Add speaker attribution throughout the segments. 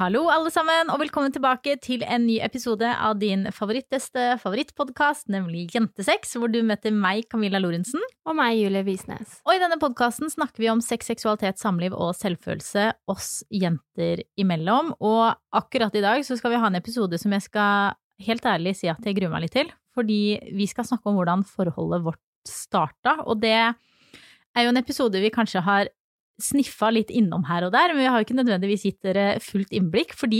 Speaker 1: Hallo, alle sammen, og velkommen tilbake til en ny episode av din favorittbeste favorittpodkast, nemlig Jentesex, hvor du møter meg, Camilla Lorentzen.
Speaker 2: Og meg, Julie Visnes.
Speaker 1: Og i denne podkasten snakker vi om sex, seksualitet, samliv og selvfølelse oss jenter imellom. Og akkurat i dag så skal vi ha en episode som jeg skal helt ærlig si at jeg gruer meg litt til. Fordi vi skal snakke om hvordan forholdet vårt starta, og det er jo en episode vi kanskje har sniffa litt innom her og der, men vi har jo ikke nødvendigvis gitt dere fullt innblikk. Fordi,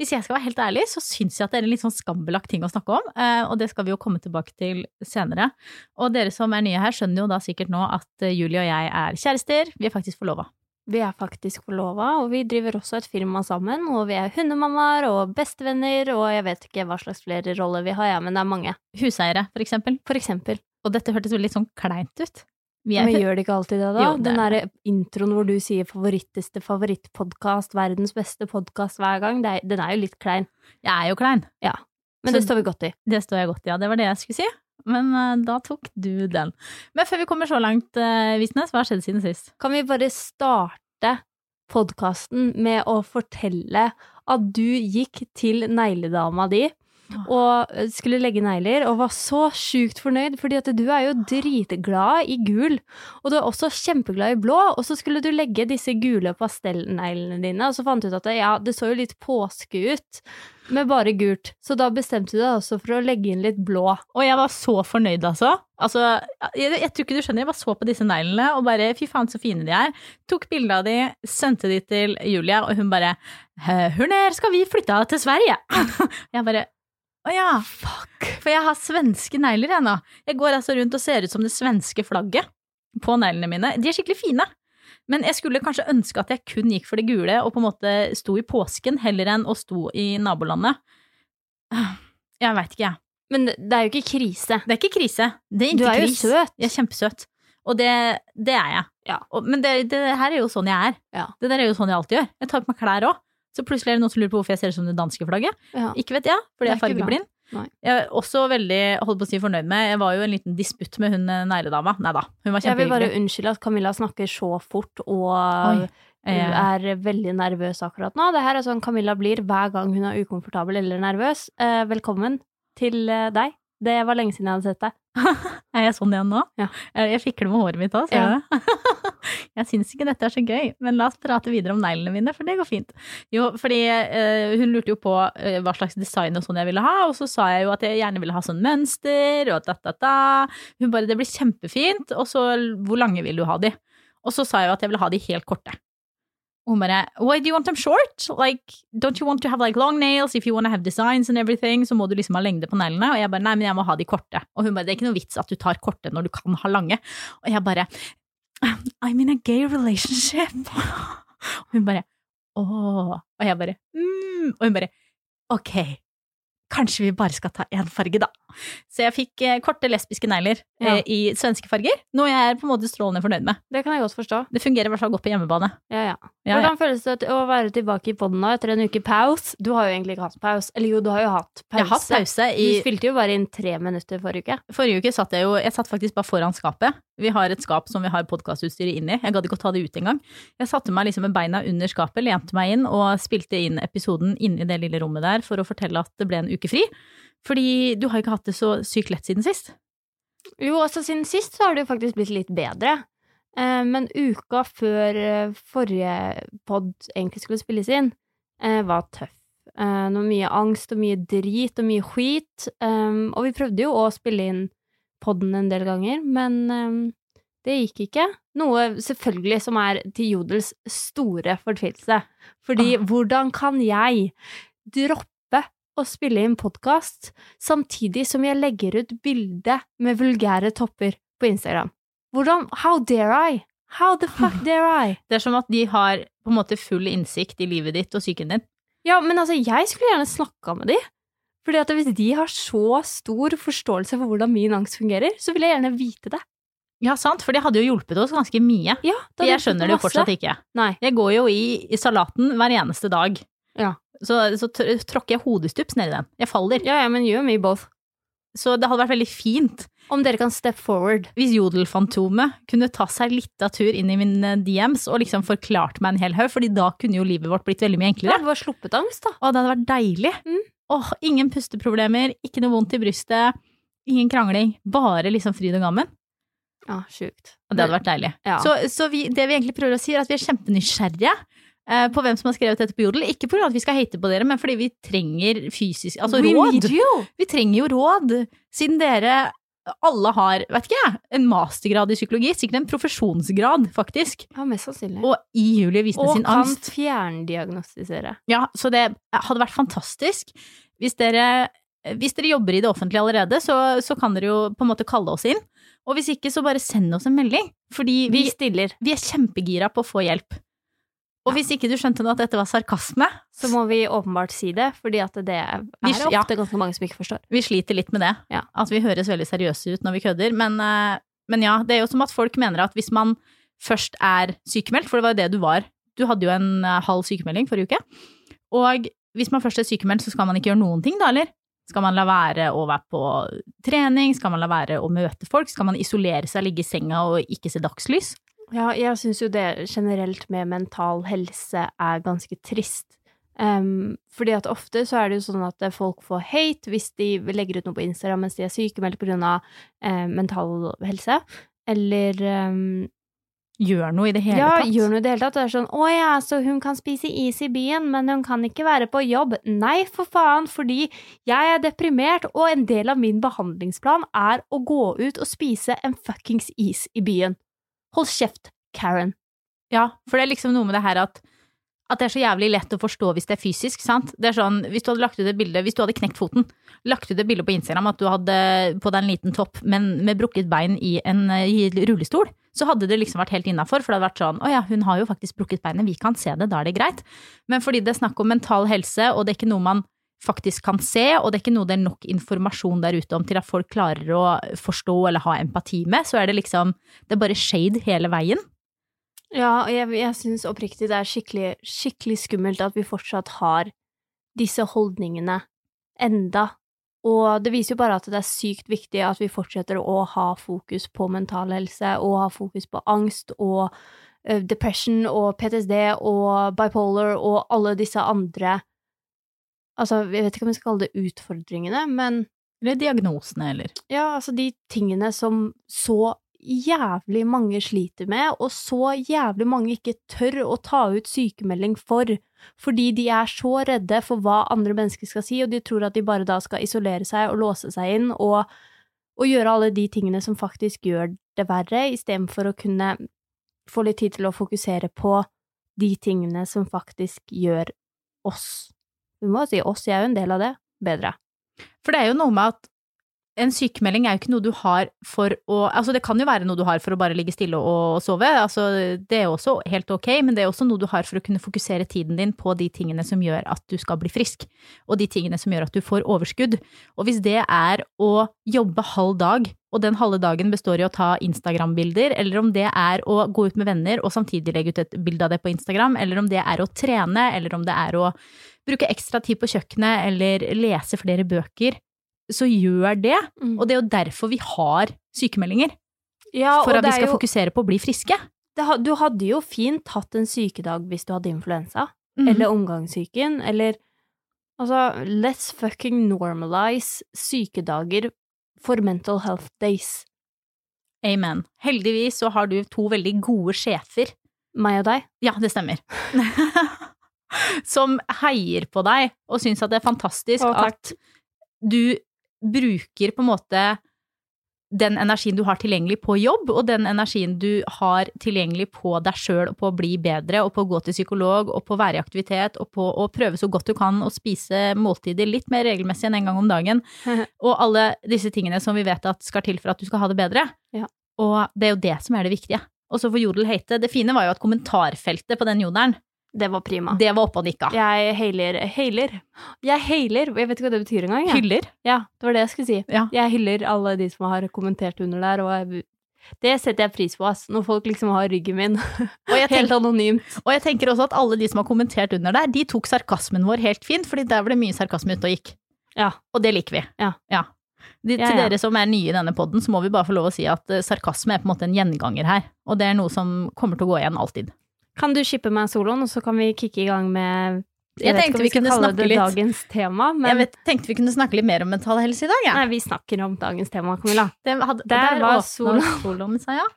Speaker 1: hvis jeg skal være helt ærlig, så syns jeg at det er en litt sånn skambelagt ting å snakke om. eh, Og det skal vi jo komme tilbake til senere. Og dere som er nye her, skjønner jo da sikkert nå at eh, Julie og jeg er kjærester. Vi er faktisk forlova.
Speaker 2: Vi er faktisk forlova, og vi driver også et firma sammen. Og vi er hundemammaer og bestevenner, og jeg vet ikke hva slags flere roller vi har, ja, men det er mange.
Speaker 1: Huseiere, for eksempel.
Speaker 2: For eksempel.
Speaker 1: Og dette hørtes veldig litt sånn kleint ut. Vi
Speaker 2: Men
Speaker 1: er
Speaker 2: gjør det ikke alltid det, da?
Speaker 1: Jo, det
Speaker 2: Den
Speaker 1: er
Speaker 2: derre introen hvor du sier favoritteste favorittpodkast, verdens beste podkast hver gang, det er, den er jo litt klein.
Speaker 1: jeg er jo klein.
Speaker 2: Men
Speaker 1: Så-
Speaker 2: det står vi godt i.
Speaker 1: Det står jeg godt i, ja. Det var det jeg skulle si. Men eh, da tok du den. Men før vi kommer så langt, eh, Visnes, hva har skjedd siden sist?
Speaker 2: Kan vi bare starte podkasten med å fortelle at du gikk til negledama di og eh, skulle legge negler, og var så sjukt fornøyd, fordi at du er jo dritglad i gul, og du er også kjempeglad i blå, og så skulle du legge disse gule pastellneglene dine, og så fant du ut at det, ja, det så jo litt påske ut med bare gult, så da bestemte du deg også for å legge inn litt blå.
Speaker 1: Og jeg var så fornøyd, altså. altså jeg, jeg tror ikke du skjønner, jeg bare så på disse neglene og bare fy faen så fine de er. Tok bilde av de, sendte de til Julia, og hun bare «Hæ, Hurner, skal vi flytte til Sverige? jeg bare å ja, fuck. For jeg har svenske negler, jeg nå. Jeg går altså rundt og ser ut som det svenske flagget på neglene mine. De er skikkelig fine. Men jeg skulle kanskje ønske at jeg kun gikk for det gule og på en måte sto i påsken heller enn å sto i nabolandet. Jeg veit ikke, jeg.
Speaker 2: Men det det er jo ikke krise.
Speaker 1: Det er ikke krise. Det er
Speaker 2: Du
Speaker 1: ikke
Speaker 2: er jo
Speaker 1: kris.
Speaker 2: søt.
Speaker 1: Jeg er kjempesøt. Og det, det er jeg.
Speaker 2: Ja.
Speaker 1: Og, men det, det her er jo sånn jeg er.
Speaker 2: Ja.
Speaker 1: Det der er jo sånn jeg alltid gjør. Jeg tar på meg klær òg. Så plutselig er det noen som lurer på hvorfor jeg ser ut som det danske flagget.
Speaker 2: Ja.
Speaker 1: Ikke vet jeg, fordi jeg
Speaker 2: Det er
Speaker 1: er
Speaker 2: ikke bra.
Speaker 1: fargeblind.
Speaker 2: Nei.
Speaker 1: Jeg er også veldig holdt på å si fornøyd med Jeg var jo i en liten disputt med hun eh, negledama. Nei da, hun var
Speaker 2: Jeg vil bare
Speaker 1: kjempehyggelig.
Speaker 2: unnskylde at Camilla snakker så fort og
Speaker 1: Oi.
Speaker 2: Hun
Speaker 1: Eh,
Speaker 2: er veldig nervøs akkurat nå. Det her er sånn Camilla blir hver gang hun er ukomfortabel eller nervøs. Eh, velkommen til eh, deg. Det var lenge siden jeg hadde sett deg.
Speaker 1: er jeg sånn igjen nå?
Speaker 2: Ja.
Speaker 1: Jeg jeg fikler med håret mitt òg, ser
Speaker 2: Ja.
Speaker 1: du det? jeg syns ikke dette er så gøy, men la oss prate videre om neglene mine, for det går fint. Jo, fordi eh, hun lurte jo på eh, hva slags design og sånn jeg ville ha, og så sa jeg jo at jeg gjerne ville ha sånn mønster og da-da-da. Hun bare 'det blir kjempefint', og så 'hvor lange vil du ha de?' Og så sa jeg jo at jeg ville ha de helt korte. Og hun bare Oh 'why do you want them short?' Like, don't you want to have like long nails if you want to have designs and everything, så må du liksom ha lengde på neglene. Og jeg bare 'nei, men jeg må ha de korte'. Og hun bare 'det er ikke noe vits at du tar korte når du kan ha lange'. Og jeg bare "Um, I'm in a gay relationship. Og hun bare åh. Og jeg bare mm. Og hun bare ok, kanskje vi bare skal ta én farge, da. Så jeg fikk eh, korte lesbiske negler eh,
Speaker 2: Ja.
Speaker 1: i svenske farger, noe jeg er på en måte strålende fornøyd med.
Speaker 2: Det kan jeg godt forstå.
Speaker 1: Det fungerer i hvert fall godt på hjemmebane.
Speaker 2: Ja, ja.
Speaker 1: Ja, ja.
Speaker 2: Hvordan føles det å være tilbake i podden nå etter en uke pause? Du har jo egentlig ikke hatt pause. Eller jo, du har jo hatt pause.
Speaker 1: Jeg har hatt pause i
Speaker 2: Du spilte jo bare inn tre minutter forrige uke.
Speaker 1: Forrige uke satt jeg jo Jeg satt faktisk bare foran skapet. Vi har et skap som vi har podkastutstyret inni. Jeg gadd ikke å ta det ut engang. Jeg satte meg liksom med beina under skapet, lente meg inn og spilte inn episoden inni det lille rommet der for å fortelle at det ble en uke fri. Fordi du har jo ikke hatt det så sykt lett siden sist.
Speaker 2: Jo, altså siden sist så har det jo faktisk blitt litt bedre. Eh, men uka før eh, forrige pod egentlig skulle spilles inn, eh, var tøff. Eh, noe mye angst og mye drit og mye skit. Um, og vi prøvde jo å spille inn podden en del ganger, men um, det gikk ikke. Noe selvfølgelig som er til Jodels store fortvilelse. Fordi hvordan kan jeg droppe å spille inn podkast samtidig som jeg legger ut bilde med vulgære topper på Instagram. Hvordan How dare I? How the fuck dare I?
Speaker 1: Det er som at de har på en måte full innsikt i livet ditt og psyken din.
Speaker 2: Ja, men altså, jeg skulle gjerne snakka med de. Fordi at hvis de har så stor forståelse for hvordan min angst fungerer, så vil jeg gjerne vite det.
Speaker 1: Ja, sant, for det hadde jo hjulpet oss ganske mye.
Speaker 2: Ja,
Speaker 1: For jeg skjønner det jo fortsatt ikke.
Speaker 2: Nei.
Speaker 1: Jeg går jo i, i salaten hver eneste dag.
Speaker 2: Ja.
Speaker 1: Så, så tr- tråkker jeg hodestups ned i den. Jeg faller.
Speaker 2: Ja, ja, men you and me both.
Speaker 1: Så det hadde vært veldig fint
Speaker 2: Om dere kan step forward.
Speaker 1: hvis Jodelfantomet kunne ta seg litt av tur inn i mine DMs og liksom forklart meg en hel haug, fordi da kunne jo livet vårt blitt veldig mye
Speaker 2: Ja,
Speaker 1: enklere.
Speaker 2: det var sluppet angst, da.
Speaker 1: Å, det hadde vært deilig.
Speaker 2: Mm.
Speaker 1: Åh, ingen pusteproblemer, ikke noe vondt i brystet, ingen krangling, bare liksom fryd og gammen.
Speaker 2: Ja, sjukt.
Speaker 1: Og det hadde vært deilig.
Speaker 2: Ja.
Speaker 1: Så, så vi, det vi egentlig prøver å si, er at vi er kjempenysgjerrige eh, på hvem som har skrevet dette på Jodel. Ikke pga. at vi skal hate på dere, men fordi vi trenger fysisk Altså
Speaker 2: We
Speaker 1: råd.
Speaker 2: need you!
Speaker 1: Vi trenger jo råd, siden dere alle har, vet ikke jeg, en mastergrad i psykologi. Sikkert en profesjonsgrad, faktisk.
Speaker 2: Ja, mest sannsynlig.
Speaker 1: Og i Julie Visnes
Speaker 2: Og
Speaker 1: sin
Speaker 2: kan
Speaker 1: angst.
Speaker 2: fjerndiagnostisere.
Speaker 1: Ja, så det hadde vært fantastisk hvis dere, hvis dere jobber i det offentlige allerede, så, så kan dere jo på en måte kalle oss inn. Og hvis ikke, så bare send oss en melding, fordi vi,
Speaker 2: Vi stiller.
Speaker 1: vi er kjempegira på å få hjelp. Og hvis ikke du skjønte nå at dette var sarkasme,
Speaker 2: Så må vi åpenbart si det, fordi at det er
Speaker 1: Vi-
Speaker 2: ofte
Speaker 1: ja.
Speaker 2: ganske mange som ikke forstår.
Speaker 1: vi sliter litt med det.
Speaker 2: Ja.
Speaker 1: At vi høres veldig seriøse ut når vi kødder. Men, eh, men ja, det er jo som at folk mener at hvis man først er sykemeldt, for det var jo det du var Du hadde jo en eh, halv sykemelding forrige uke. Og hvis man først er sykemeldt, så skal man ikke gjøre noen ting, da, eller? Skal man la være å være på trening? Skal man la være å møte folk? Skal man isolere seg, ligge i senga og ikke se dagslys?
Speaker 2: Ja, jeg syns jo det generelt med mental helse er ganske trist. Um, fordi at ofte så er det jo sånn at folk får hate hvis de legger ut noe på Instagram mens de er sykemeldt pga. Uh, mental helse. Eller um,
Speaker 1: Gjør noe i det hele
Speaker 2: ja,
Speaker 1: tatt.
Speaker 2: gjør noe i det hele tatt. Det er sånn 'Å ja, så hun kan spise is i byen, men hun kan ikke være på jobb'. Nei, for faen, fordi jeg er deprimert, og en del av min behandlingsplan er å gå ut og spise en fuckings is i byen. Hold kjeft, Karen.
Speaker 1: Ja, for det er liksom noe med det her at, at det er så jævlig lett å forstå hvis det er fysisk, sant? Det er sånn, hvis du hadde lagt ut et bilde, hvis du hadde knekt foten, lagt ut et bilde på Instagram at du hadde på deg en liten topp, men med brukket bein i en eh, i rullestol, så hadde det liksom vært helt innafor, for det hadde vært sånn, å ja, hun har jo faktisk brukket beinet, vi kan se det, da er det greit. Men fordi det er snakk om mental helse, og det er ikke noe man faktisk kan se, og det er ikke noe det er nok informasjon der ute om til at folk klarer å forstå eller ha empati med, så er det liksom, det er bare shade hele veien.
Speaker 2: Ja, og jeg, jeg syns oppriktig det er skikkelig, skikkelig skummelt at vi fortsatt har disse holdningene enda. Og det viser jo bare at det er sykt viktig at vi fortsetter å ha fokus på mental helse, og ha fokus på angst og ø, depression og PTSD og bipolar og alle disse andre Altså, jeg vet ikke om jeg skal kalle det utfordringene, men
Speaker 1: Eller diagnosene, eller
Speaker 2: Ja, altså de tingene som så jævlig mange sliter med, og så jævlig mange ikke tør å ta ut sykemelding for, fordi de er så redde for hva andre mennesker skal si, og de tror at de bare da skal isolere seg og låse seg inn og, og gjøre alle de tingene som faktisk gjør det verre, istedenfor å kunne få litt tid til å fokusere på de tingene som faktisk gjør oss, vi må jo si oss, jeg er jo en del av det, bedre.
Speaker 1: For det er jo noe med at en sykemelding er jo ikke noe du har for å Altså, det kan jo være noe du har for å bare ligge stille og, og sove. Altså, det er jo også helt ok, men det er også noe du har for å kunne fokusere tiden din på de tingene som gjør at du skal bli frisk, og de tingene som gjør at du får overskudd. Og hvis det er å jobbe halv dag, og den halve dagen består i å ta Instagram-bilder, eller om det er å gå ut med venner og samtidig legge ut et bilde av det på Instagram, eller om det er å trene, eller om det er å bruke ekstra tid på kjøkkenet, eller lese flere bøker, så gjør det. Og det er jo derfor vi har sykemeldinger.
Speaker 2: Mm. Ja,
Speaker 1: for
Speaker 2: og
Speaker 1: at vi
Speaker 2: det er
Speaker 1: skal
Speaker 2: jo-
Speaker 1: fokusere på å bli friske.
Speaker 2: det, ha- du hadde jo fint hatt en sykedag hvis du hadde influensa,
Speaker 1: Mhm.
Speaker 2: eller omgangssyken, eller Altså, let's fucking normalize sykedager for mental health days.
Speaker 1: Amen. Heldigvis så har du to veldig gode sjefer.
Speaker 2: Meg og deg.
Speaker 1: Ja, det stemmer. Som heier på deg og syns at det er fantastisk
Speaker 2: Å, takk.
Speaker 1: at du bruker på en måte den energien du har tilgjengelig på jobb, og den energien du har tilgjengelig på deg sjøl og på å bli bedre, og på å gå til psykolog, og på å være i aktivitet, og på å prøve så godt du kan å spise måltider litt mer regelmessig enn en gang om dagen, og alle disse tingene som vi vet at skal til for at du skal ha det bedre.
Speaker 2: Ja.
Speaker 1: Og det er jo det som er det viktige. Og så får Jodel hate. Det fine var jo at kommentarfeltet på den jodelen,
Speaker 2: Det var prima.
Speaker 1: det var oppe og nikka.
Speaker 2: Jeg hailer Hailer. Jeg hailer, og jeg vet ikke hva det betyr engang. jeg.
Speaker 1: Hyller.
Speaker 2: Ja, det var det jeg skulle si.
Speaker 1: Ja.
Speaker 2: Jeg hyller alle de som har kommentert under der, og jeg Det setter jeg pris på, ass. Når folk liksom har ryggen min.
Speaker 1: Og jeg,
Speaker 2: Helt
Speaker 1: tenker,
Speaker 2: anonymt.
Speaker 1: og jeg tenker også at alle de som har kommentert under der, de tok sarkasmen vår helt fint, fordi der var det mye sarkasme ute og gikk.
Speaker 2: Ja.
Speaker 1: Og det liker vi.
Speaker 2: Ja.
Speaker 1: De,
Speaker 2: Ja,
Speaker 1: Til
Speaker 2: ja.
Speaker 1: dere som er nye i denne podden, så må vi bare få lov å si at eh, sarkasme er på en måte en gjenganger her. Og det er noe som kommer til å gå igjen alltid.
Speaker 2: Kan du shippe meg soloen, og så kan vi kicke i gang med
Speaker 1: Jeg
Speaker 2: vet ikke
Speaker 1: tenkte
Speaker 2: om
Speaker 1: vi
Speaker 2: skal
Speaker 1: kunne
Speaker 2: kalle
Speaker 1: snakke
Speaker 2: det
Speaker 1: litt.
Speaker 2: dagens tema, men
Speaker 1: jeg vet, tenkte vi kunne snakke litt mer om mental helse i dag, jeg.
Speaker 2: Nei, vi snakker om dagens tema, Camilla.
Speaker 1: Det hadde,
Speaker 2: Der var
Speaker 1: åpnet
Speaker 2: sola.
Speaker 1: soloen seg, ja.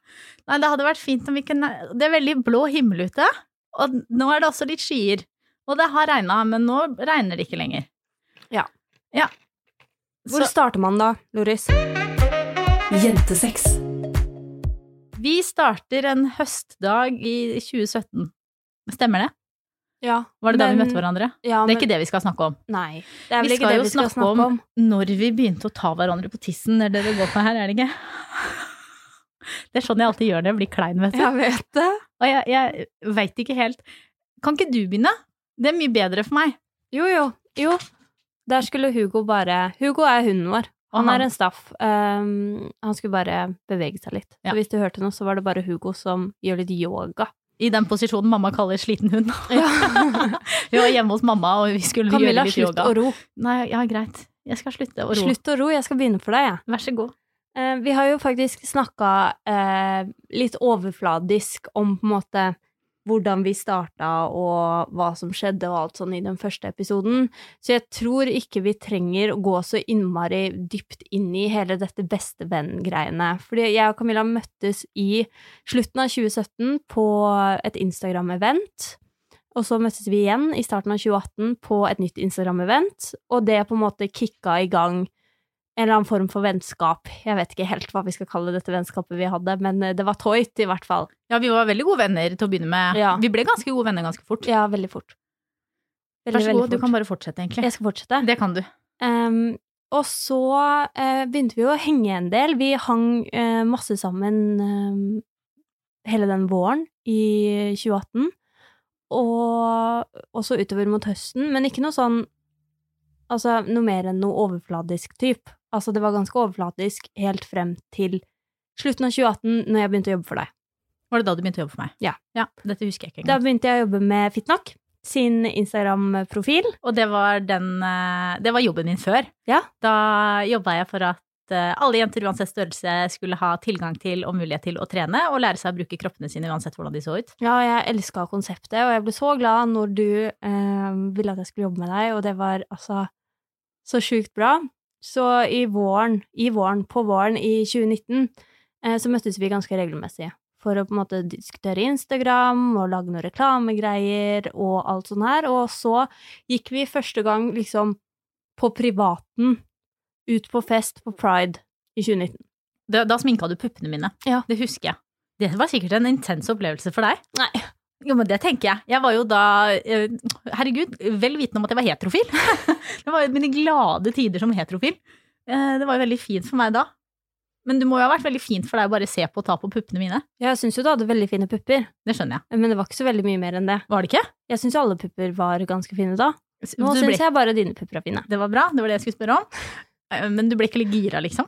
Speaker 1: Nei, det hadde vært fint om vi kunne Det er veldig blå himmel ute, og nå er det også litt skyer. Og det har regna, men nå regner det ikke lenger.
Speaker 2: Ja.
Speaker 1: ja.
Speaker 2: Hvor
Speaker 1: Så
Speaker 2: starter man da, Loris?
Speaker 3: Jentesex.
Speaker 1: vi starter en høstdag i 2017. Stemmer det?
Speaker 2: Ja,
Speaker 1: Var det da vi
Speaker 2: men-
Speaker 1: møtte hverandre?
Speaker 2: ja,
Speaker 1: Det
Speaker 2: men-
Speaker 1: er ikke det vi skal snakke om.
Speaker 2: Nei. Det er vel
Speaker 1: Vi
Speaker 2: ikke
Speaker 1: skal
Speaker 2: det
Speaker 1: jo
Speaker 2: vi skal
Speaker 1: snakke
Speaker 2: snakke
Speaker 1: om-
Speaker 2: om.
Speaker 1: Når vi begynte å ta hverandre på tissen, er det det går på her, er det ikke? Det er sånn jeg alltid gjør det, jeg blir klein, vet du.
Speaker 2: Jeg vet det.
Speaker 1: Og jeg, jeg veit ikke helt Kan ikke du begynne? Det er mye bedre for meg.
Speaker 2: Jo, jo. Jo. Der skulle Hugo bare Hugo er hunden vår. Han er en staff. Um, han skulle bare bevege seg litt.
Speaker 1: Ja.
Speaker 2: Så hvis du hørte noe, så var det bare Hugo som gjør litt yoga.
Speaker 1: i den posisjonen mamma kaller sliten hund. vi var hjemme hos mamma, og vi skulle
Speaker 2: Camilla,
Speaker 1: gjøre litt
Speaker 2: slutt
Speaker 1: yoga.
Speaker 2: å ro.
Speaker 1: Nei, ja, greit. Jeg skal slutte å ro.
Speaker 2: Slutt å ro. Jeg skal begynne for deg, jeg.
Speaker 1: Vær så god.
Speaker 2: Eh, vi har jo faktisk snakka eh, litt overfladisk om på en måte hvordan vi starta og hva som skjedde og alt sånn i den første episoden, så jeg tror ikke vi trenger å gå så innmari dypt inn i hele dette bestevenn-greiene. Fordi jeg og Camilla møttes i slutten av 2017 på et Instagram-event. Og så møttes vi igjen i starten av 2018 på et nytt Instagram-event, og det på en måte kicka i gang en eller annen form for vennskap. Jeg vet ikke helt hva vi skal kalle dette vennskapet vi hadde, men eh, det var toit i hvert fall.
Speaker 1: Ja, vi var veldig gode venner til å begynne med.
Speaker 2: Ja.
Speaker 1: Vi ble ganske gode venner ganske fort.
Speaker 2: Ja, veldig fort. Veldig,
Speaker 1: Vær så god,
Speaker 2: veldig
Speaker 1: du
Speaker 2: fort.
Speaker 1: kan bare fortsette, egentlig.
Speaker 2: Jeg skal fortsette.
Speaker 1: Det kan du.
Speaker 2: Ehm, og så eh, begynte vi jo å henge en del. Vi hang eh, masse sammen ehm, hele den våren i 2018, og også utover mot høsten, men ikke noe sånn Altså noe mer enn noe overfladisk type. Altså det var ganske overfladisk helt frem til slutten av 2018, når jeg begynte å jobbe for deg.
Speaker 1: Var det da du begynte å jobbe for meg?
Speaker 2: Ja.
Speaker 1: Dette husker jeg ikke
Speaker 2: Da
Speaker 1: engang.
Speaker 2: begynte jeg å jobbe med Fitnok, sin Instagram-profil.
Speaker 1: Og det var, den, eh, det var jobben min før.
Speaker 2: Ja.
Speaker 1: Da jobba jeg for at eh, alle jenter uansett størrelse skulle ha tilgang til og mulighet til å trene og lære seg å bruke kroppene sine uansett hvordan de så ut.
Speaker 2: Ja, jeg elska konseptet, og jeg ble så glad når du eh, ville at jeg skulle jobbe med deg, og det var altså så sjukt bra. Så i våren, i våren, på våren i 2019, eh, så møttes vi ganske regelmessig for å på en måte diskutere Instagram og lage noen reklamegreier og alt sånt her, og så gikk vi første gang liksom på privaten ut på fest på Pride i 2019.
Speaker 1: Da, da sminka du puppene mine.
Speaker 2: Ja.
Speaker 1: Det husker jeg. Det var sikkert en intens opplevelse for deg.
Speaker 2: Nei.
Speaker 1: Jo, men det tenker jeg. Jeg var jo da eh, Herregud, vel vitende om at jeg var heterofil. det var jo mine glade tider som heterofil. Eh, Det var jo veldig fint for meg da. Men det må jo ha vært veldig fint for deg å bare se på og ta på puppene mine.
Speaker 2: Jeg syns jo du hadde veldig fine pupper,
Speaker 1: Det skjønner jeg.
Speaker 2: men det var ikke så veldig mye mer enn det.
Speaker 1: Var det ikke?
Speaker 2: Jeg syns jo alle pupper var ganske fine da. Nå
Speaker 1: Du ble-
Speaker 2: syns jeg bare dine pupper er fine.
Speaker 1: Det var bra, det var det jeg skulle spørre om. Eh, Men du ble ikke litt gira, liksom?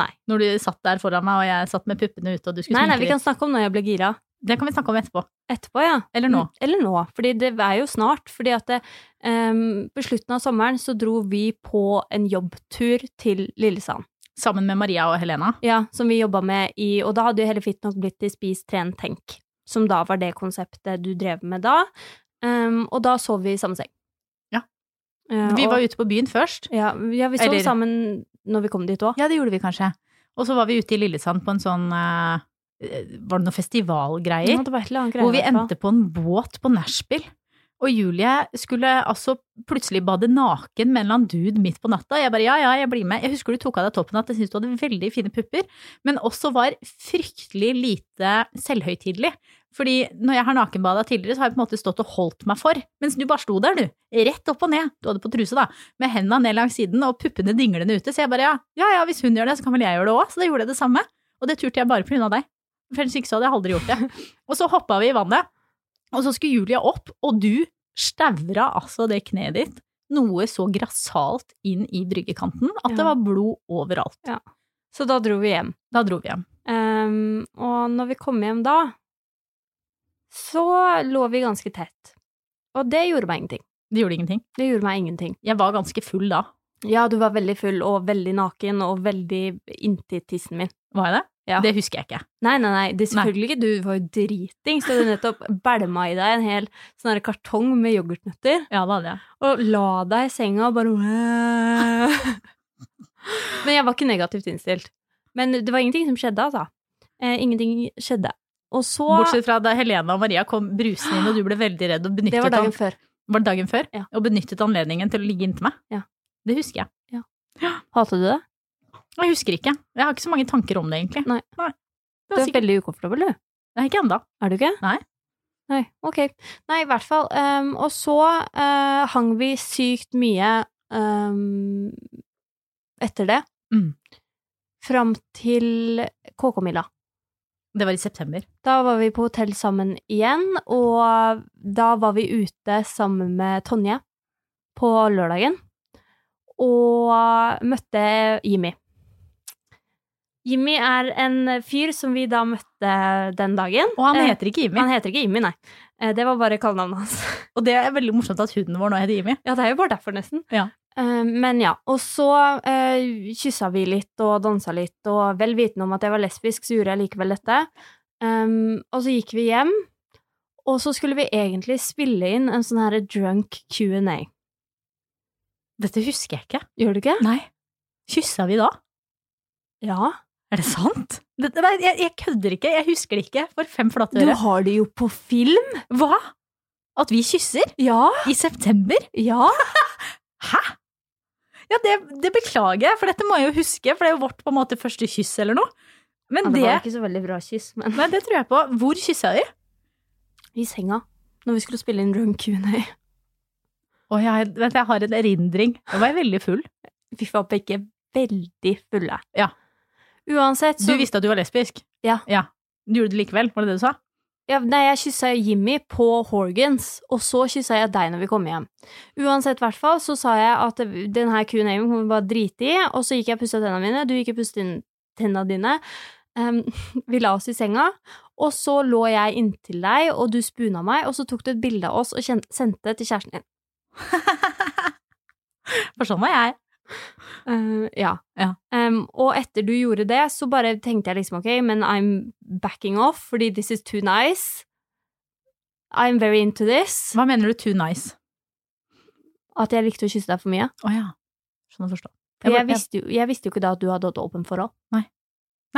Speaker 2: Nei.
Speaker 1: Når du satt der foran meg, og jeg satt med puppene ute, og du skulle
Speaker 2: Nei, nei,
Speaker 1: sminke
Speaker 2: vi
Speaker 1: deg.
Speaker 2: kan snakke om når jeg ble gira.
Speaker 1: Det kan Mm. vi snakke om etterpå.
Speaker 2: Etterpå, ja. Mm,
Speaker 1: Eller nå.
Speaker 2: Eller nå, fordi det er jo snart. Fordi at det, ehm, på slutten av sommeren så dro vi på en jobbtur til Lillesand.
Speaker 1: Sammen med Maria og Helena.
Speaker 2: Ja, som vi jobba med i Og da hadde jo hele Fitnok blitt til Spis, tren, tenk. Som da var det konseptet du drev med da. Ehm, og da sov vi i samme seng.
Speaker 1: Ja.
Speaker 2: Eh,
Speaker 1: Vi
Speaker 2: og-
Speaker 1: var ute på byen først.
Speaker 2: ja, ja, vi sov
Speaker 1: Eller-
Speaker 2: sammen når vi kom dit òg.
Speaker 1: Ja, det gjorde vi kanskje. Og så var vi ute i Lillesand på en sånn eh, Var det noen festivalgreier?
Speaker 2: det var et eller annet
Speaker 1: hvor vi
Speaker 2: i hvert fall.
Speaker 1: endte på en båt på nachspiel. Og Julie skulle altså plutselig bade naken med en eller annen dude midt på natta. Jeg bare ja, ja, jeg blir med. Jeg husker du tok av deg toppen at jeg syntes du hadde veldig fine pupper, men også var fryktelig lite selvhøytidelig. Fordi når jeg har nakenbada tidligere, så har jeg på en måte stått og holdt meg for, mens du bare sto der, du. Rett opp og ned. Du hadde på truse, da. Med henda ned langs siden og puppene dinglende ute. Så jeg bare ja, ja, ja, hvis hun gjør det, så kan vel jeg gjøre det òg. Så da gjorde jeg det samme. Og det turte jeg bare pga. deg. For ellers ikke så hadde jeg aldri gjort det. Og så hoppa vi i vannet, og så skulle Julia opp, og du staura altså det kneet ditt noe så grassat inn i bryggekanten at det
Speaker 2: Ja.
Speaker 1: var blod overalt.
Speaker 2: Så da dro vi hjem.
Speaker 1: Da dro vi hjem.
Speaker 2: Ehm, og når vi kom hjem da, så lå vi ganske tett. Og det gjorde meg ingenting.
Speaker 1: Det gjorde ingenting.
Speaker 2: Det gjorde meg ingenting.
Speaker 1: Jeg var ganske full da.
Speaker 2: Ja, du var veldig full og veldig naken og veldig inntil tissen min.
Speaker 1: Var jeg det?
Speaker 2: Ja.
Speaker 1: Det husker jeg ikke.
Speaker 2: Nei, nei, nei, det er selvfølgelig ikke. Du var jo driting, så du nettopp bælma i deg en hel sånn her kartong med yoghurtnøtter
Speaker 1: Ja, det hadde jeg.
Speaker 2: og la deg i senga og bare Men jeg var ikke negativt innstilt. Men det var ingenting som skjedde, altså. Eh, ingenting skjedde. Og så
Speaker 1: Bortsett fra da Helena og Maria kom brusende inn, og du ble veldig redd og benyttet
Speaker 2: Det var dagen
Speaker 1: an-
Speaker 2: før.
Speaker 1: var det dagen før,
Speaker 2: Ja.
Speaker 1: og benyttet anledningen til å ligge inntil meg.
Speaker 2: Ja.
Speaker 1: Det husker jeg.
Speaker 2: Hater du det?
Speaker 1: Jeg husker ikke. Jeg har ikke så mange tanker om det, egentlig.
Speaker 2: Nei.
Speaker 1: Det
Speaker 2: Du
Speaker 1: var
Speaker 2: er
Speaker 1: sikkert...
Speaker 2: veldig ukomfortabel, du.
Speaker 1: Nei, ikke ennå.
Speaker 2: Er du ikke?
Speaker 1: Nei.
Speaker 2: Nei, ok. Nei, i hvert fall. ehm, og så eh, hang vi sykt mye ehm, etter det.
Speaker 1: Mm.
Speaker 2: Fram til KK-mila.
Speaker 1: Det var i september.
Speaker 2: Da var vi på hotell sammen igjen, og da var vi ute sammen med Tonje på lørdagen. Og møtte Jimmy. Jimmy er en fyr som vi da møtte den dagen.
Speaker 1: Og han
Speaker 2: Eh,
Speaker 1: heter ikke Jimmy.
Speaker 2: Han heter ikke Jimmy, nei. Eh, Det var bare kallenavnet hans.
Speaker 1: Og det er veldig morsomt at huden vår nå heter Jimmy.
Speaker 2: Ja, det er jo bare derfor, nesten.
Speaker 1: Ja.
Speaker 2: Eh, Men ja. Og så eh, kyssa vi litt og dansa litt, og vel vitende om at jeg var lesbisk, så gjorde jeg likevel dette. Um, og så gikk vi hjem, og så skulle vi egentlig spille inn en sånn her drunk Q&A.
Speaker 1: Dette husker jeg ikke.
Speaker 2: Gjør du ikke?
Speaker 1: Nei. Kyssa vi da?
Speaker 2: Ja.
Speaker 1: Er det sant? Dette, nei, jeg, jeg kødder ikke. Jeg husker det ikke for fem flate
Speaker 2: Du
Speaker 1: øre.
Speaker 2: har det jo på film!
Speaker 1: Hva? At vi kysser?
Speaker 2: Ja!
Speaker 1: I september?
Speaker 2: Ja!
Speaker 1: Hæ? Ja, det, det beklager jeg, for dette må jeg jo huske, for det er jo vårt på en måte første kyss eller noe. Men
Speaker 2: det
Speaker 1: det,
Speaker 2: var ikke så veldig bra kyss, men
Speaker 1: nei, det tror jeg på. Hvor kyssa vi?
Speaker 2: I senga. Når vi skulle spille inn drunk Q&A.
Speaker 1: Å, jeg, vent, jeg har en erindring. Da var jeg veldig full.
Speaker 2: Vi var begge veldig fulle.
Speaker 1: Ja.
Speaker 2: Uansett,
Speaker 1: Du
Speaker 2: så
Speaker 1: visste at du var lesbisk?
Speaker 2: Ja.
Speaker 1: Du gjorde det likevel, var det det du sa?
Speaker 2: ja, Nei, jeg kyssa jo Jimmy på Horgans, og så kyssa jeg deg når vi kom hjem. Uansett, hvert fall, så sa jeg at det- den her Q&A-en kan vi bare drite i, og så gikk jeg og pussa tenna mine, du gikk og pusset inn tenna dine. Em, vi la oss i senga, og så lå jeg inntil deg, og du spuna meg, og så tok du et bilde av oss og kjen- sendte det til kjæresten din.
Speaker 1: For sånn var jeg.
Speaker 2: Eh, ja.
Speaker 1: Ja.
Speaker 2: Em, og etter du gjorde det, så bare tenkte jeg liksom ok, men I'm backing off, fordi this is too nice. I'm very into this.
Speaker 1: Hva mener du too nice?
Speaker 2: At jeg likte å kysse deg for mye.
Speaker 1: Å ja. Skjønner å forstå.
Speaker 2: For jeg,
Speaker 1: bare-
Speaker 2: visste jo, jeg visste jo ikke da at du hadde et åpent forhold.
Speaker 1: Nei,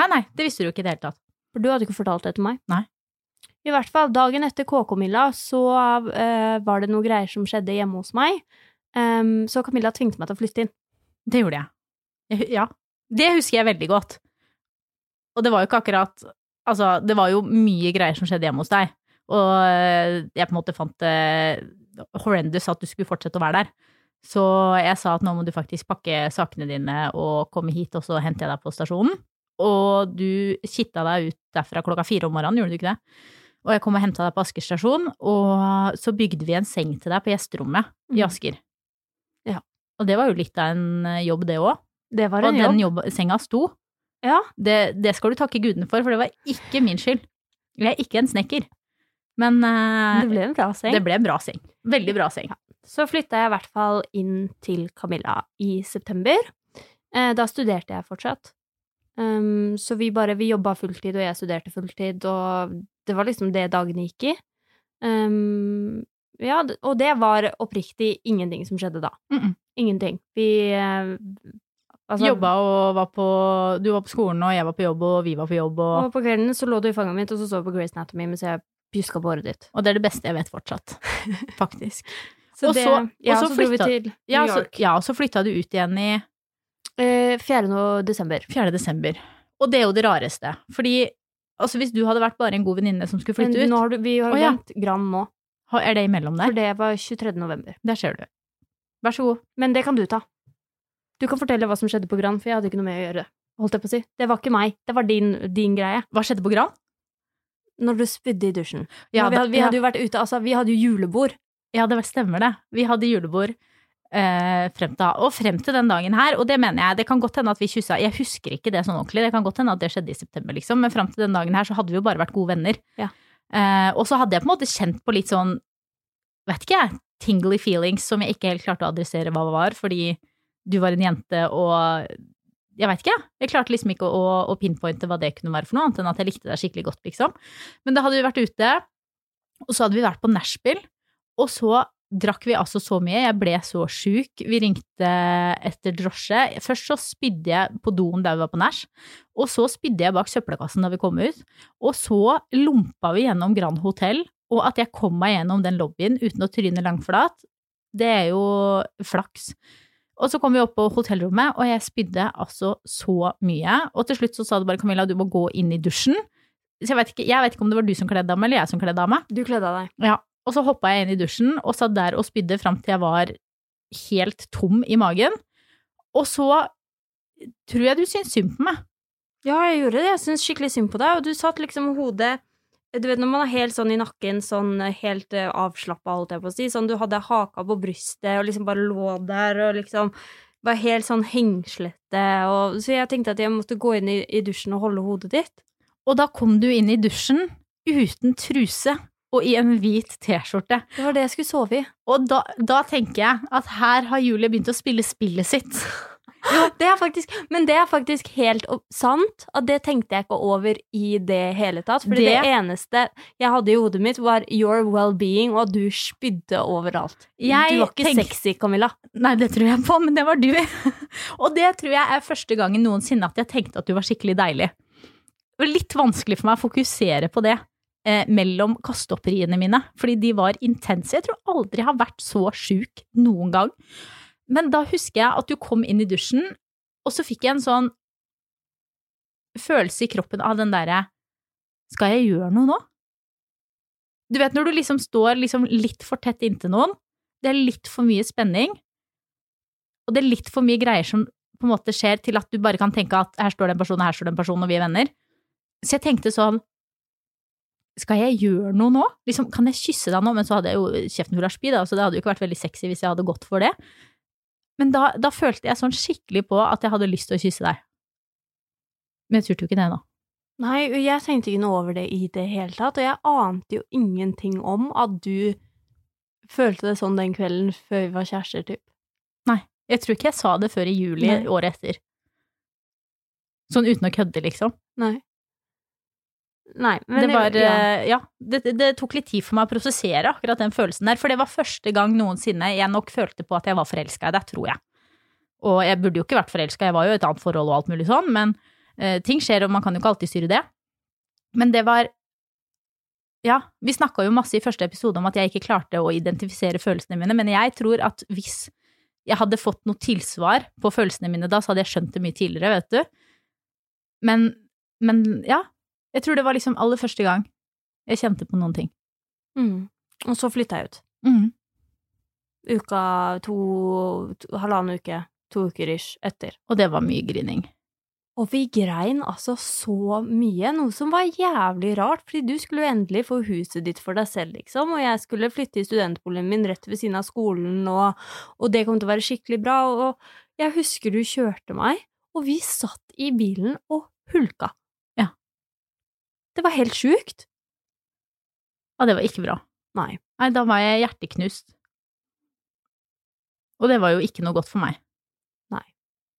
Speaker 1: nei, det visste du ikke i det hele tatt.
Speaker 2: For du hadde ikke fortalt det til meg.
Speaker 1: Nei.
Speaker 2: I hvert fall, dagen etter KK-Milla så eh, var det noe greier som skjedde hjemme hos meg. Em, så Camilla tvingte meg til å flytte inn.
Speaker 1: Det gjorde jeg. jeg. hu- Ja. Det husker jeg veldig godt. Og det var jo ikke akkurat Altså, det var jo mye greier som skjedde hjemme hos deg. Og øh, jeg på en måte fant det horrendous at du skulle fortsette å være der. Så jeg sa at nå må du faktisk pakke sakene dine og komme hit, og så henter jeg deg på stasjonen. Og du kitta deg ut derfra klokka fire om morgenen, gjorde du ikke det? Og jeg kom og henta deg på Asker stasjon, og så bygde vi en seng til deg på gjesterommet i
Speaker 2: Mm.
Speaker 1: Asker.
Speaker 2: Ja.
Speaker 1: Og det var jo litt av en eh, jobb, det òg.
Speaker 2: Det var
Speaker 1: Og
Speaker 2: en jobb.
Speaker 1: den jobb, senga sto.
Speaker 2: Ja.
Speaker 1: Det, det skal du takke gudene for, for det var ikke min skyld. Jeg er ikke en snekker. Men eh,
Speaker 2: Det ble en bra seng.
Speaker 1: det ble en bra seng. Veldig bra seng.
Speaker 2: Så flytta jeg i hvert fall inn til Camilla i september. Eh, da studerte jeg fortsatt. Um, så vi bare Vi jobba fulltid, og jeg studerte fulltid, og det var liksom det dagene gikk i. Um, ja, d- og det var oppriktig ingenting som skjedde da.
Speaker 1: Mm-mm.
Speaker 2: Ingenting. Vi eh, altså,
Speaker 1: Jobba og var på Du var på skolen, og jeg var på jobb, og vi var på jobb, og
Speaker 2: Og på kvelden så lå du i fanget mitt, og så så du på Grace Anatomy mens jeg pjuska på håret ditt.
Speaker 1: Og det er det beste jeg vet fortsatt. Faktisk.
Speaker 2: Så
Speaker 1: Og
Speaker 2: det,
Speaker 1: så-
Speaker 2: ja,
Speaker 1: og så
Speaker 2: så, dro vi
Speaker 1: flytta-
Speaker 2: til
Speaker 1: Ja,
Speaker 2: New
Speaker 1: så,
Speaker 2: York.
Speaker 1: ja, og så flytta du ut igjen i
Speaker 2: Eh, 4. desember.
Speaker 1: 4. desember. Og det er jo det rareste. Fordi altså, hvis du hadde vært bare en god venninne som skulle
Speaker 2: Men
Speaker 1: flytte ut,
Speaker 2: nå har du, vi har
Speaker 1: Å, ja.
Speaker 2: glemt Gran nå.
Speaker 1: ha- er det imellom der?
Speaker 2: For det var 23. november.
Speaker 1: Der ser du. Vær så god.
Speaker 2: Men det kan du ta. Du kan fortelle hva som skjedde på Gran, for jeg hadde ikke noe med å gjøre. Holdt jeg på å si. Det var ikke meg. Det var din, din greie.
Speaker 1: Hva skjedde på Gran?
Speaker 2: Når du spydde i dusjen.
Speaker 1: Ja,
Speaker 2: Når vi,
Speaker 1: da-
Speaker 2: hadde, vi
Speaker 1: ja.
Speaker 2: hadde jo vært ute, altså, vi hadde jo julebord.
Speaker 1: Ja, det stemmer det. Vi hadde julebord. eh, frem til, og frem til den dagen her. Og det mener jeg. Det kan godt hende at vi kyssa. Jeg husker ikke det sånn ordentlig. Det kan godt hende at det skjedde i september, liksom. Men frem til den dagen her så hadde vi jo bare vært gode venner.
Speaker 2: Ja.
Speaker 1: Eh, og så hadde jeg på en måte kjent på litt sånn, vet ikke jeg, tingly feelings som jeg ikke helt klarte å adressere hva var, fordi du var en jente og jeg veit ikke, jeg. Jeg klarte liksom ikke å, å, å pinpointe hva det kunne være for noe, annet enn at jeg likte deg skikkelig godt, liksom. Men da hadde vi vært ute, og så hadde vi vært på nachspiel, og så drakk vi altså så mye. Jeg ble så sjuk. Vi ringte etter drosje. Først så spydde jeg på doen der vi var på nach, og så spydde jeg bak søppelkassen da vi kom ut. Og så lompa vi gjennom Grand Hotel, og at jeg kom meg gjennom den lobbyen uten å tryne langflat, det er jo flaks. Og så kom vi opp på hotellrommet, og jeg spydde altså så mye. Og til slutt så sa du bare 'Camilla, du må gå inn i dusjen'. Så jeg vet ikke, jeg vet ikke om det var du som kledde av meg, eller jeg som kledde av meg.
Speaker 2: Du kledde av deg.
Speaker 1: Ja, og så hoppa jeg inn i dusjen og satt der og spydde fram til jeg var helt tom i magen. Og så tror jeg du syns synd på meg.
Speaker 2: Ja, jeg gjorde det. Jeg syntes skikkelig synd på deg. Og du satt liksom med hodet Du vet når man er helt sånn i nakken, sånn helt uh, avslappa, holdt jeg på å si. Sånn du hadde haka på brystet og liksom bare lå der og liksom var helt sånn hengslete og Så jeg tenkte at jeg måtte gå inn i, i dusjen og holde hodet ditt.
Speaker 1: Og da kom du inn i dusjen uten truse og i en hvit T-skjorte.
Speaker 2: Det var det jeg skulle sove i.
Speaker 1: Og da, da tenker jeg at her har Julie begynt å spille spillet sitt.
Speaker 2: Jo, det er faktisk, men det er faktisk helt opp- sant, at det tenkte jeg ikke over i det hele tatt. Fordi det,
Speaker 1: Det-
Speaker 2: eneste jeg hadde i hodet mitt, var your well-being, og at du spydde overalt.
Speaker 1: Jeg
Speaker 2: du var ikke
Speaker 1: tenk-
Speaker 2: sexy, Camilla.
Speaker 1: Nei, det tror jeg på, men det var du. og det tror jeg er første gangen noensinne at jeg tenkte at du var skikkelig deilig. Det var litt vanskelig for meg å fokusere på det eh, mellom kasteopperiene mine, fordi de var intense. Jeg tror aldri jeg har vært så sjuk noen gang. Men da husker jeg at du kom inn i dusjen, og så fikk jeg en sånn følelse i kroppen av den derre Skal jeg gjøre noe nå? Du vet når du liksom står liksom litt for tett inntil noen, det er litt for mye spenning, og det er litt for mye greier som på en måte skjer til at du bare kan tenke at her står det en person, og her står det en person, og vi er venner. Så jeg tenkte sånn Skal jeg gjøre noe nå? Liksom, kan jeg kysse deg nå? Men så hadde jeg jo kjeften full av spy, da, så det hadde jo ikke vært veldig sexy hvis jeg hadde gått for det. Men da, da følte jeg sånn skikkelig på at jeg hadde lyst til å kysse deg. Men jeg turte jo ikke det nå.
Speaker 2: Nei, jeg tenkte ikke noe over det i det hele tatt, og jeg ante jo ingenting om at du følte det sånn den kvelden før vi var kjærester, typ.
Speaker 1: Jeg tror ikke jeg sa det før i juli
Speaker 2: Nei.
Speaker 1: året etter. Sånn uten å kødde, liksom.
Speaker 2: Nei. Nei, men
Speaker 1: det var,
Speaker 2: ja.
Speaker 1: eh, ja, det, det- det tok litt tid for meg å prosessere akkurat den følelsen der, for det var første gang noensinne jeg nok følte på at jeg var forelska i deg, tror jeg. Og jeg burde jo ikke vært forelska, jeg var jo i et annet forhold og alt mulig sånn, men eh, ting skjer, og man kan jo ikke alltid styre det. Men det var Ja, vi snakka jo masse i første episode om at jeg ikke klarte å identifisere følelsene mine, men jeg tror at hvis jeg hadde fått noe tilsvar på følelsene mine da, så hadde jeg skjønt det mye tidligere, vet du. Men, men ja, jeg tror det var liksom aller første gang jeg kjente på noen ting.
Speaker 2: Mm. Og så flytta jeg ut. Uka to, to Halvannen uke. To uker ish etter.
Speaker 1: Og det var mye grining.
Speaker 2: Og vi grein altså så mye, noe som var jævlig rart, fordi du skulle jo endelig få huset ditt for deg selv, liksom, og jeg skulle flytte i studentboligen min rett ved siden av skolen, og, og det kom til å være skikkelig bra, og, og jeg husker du kjørte meg, og vi satt i bilen og hulka.
Speaker 1: Ja.
Speaker 2: Det var helt sjukt.
Speaker 1: Og det var ikke bra.
Speaker 2: Nei.
Speaker 1: Nei, da var jeg hjerteknust. Og det var jo ikke noe godt for meg.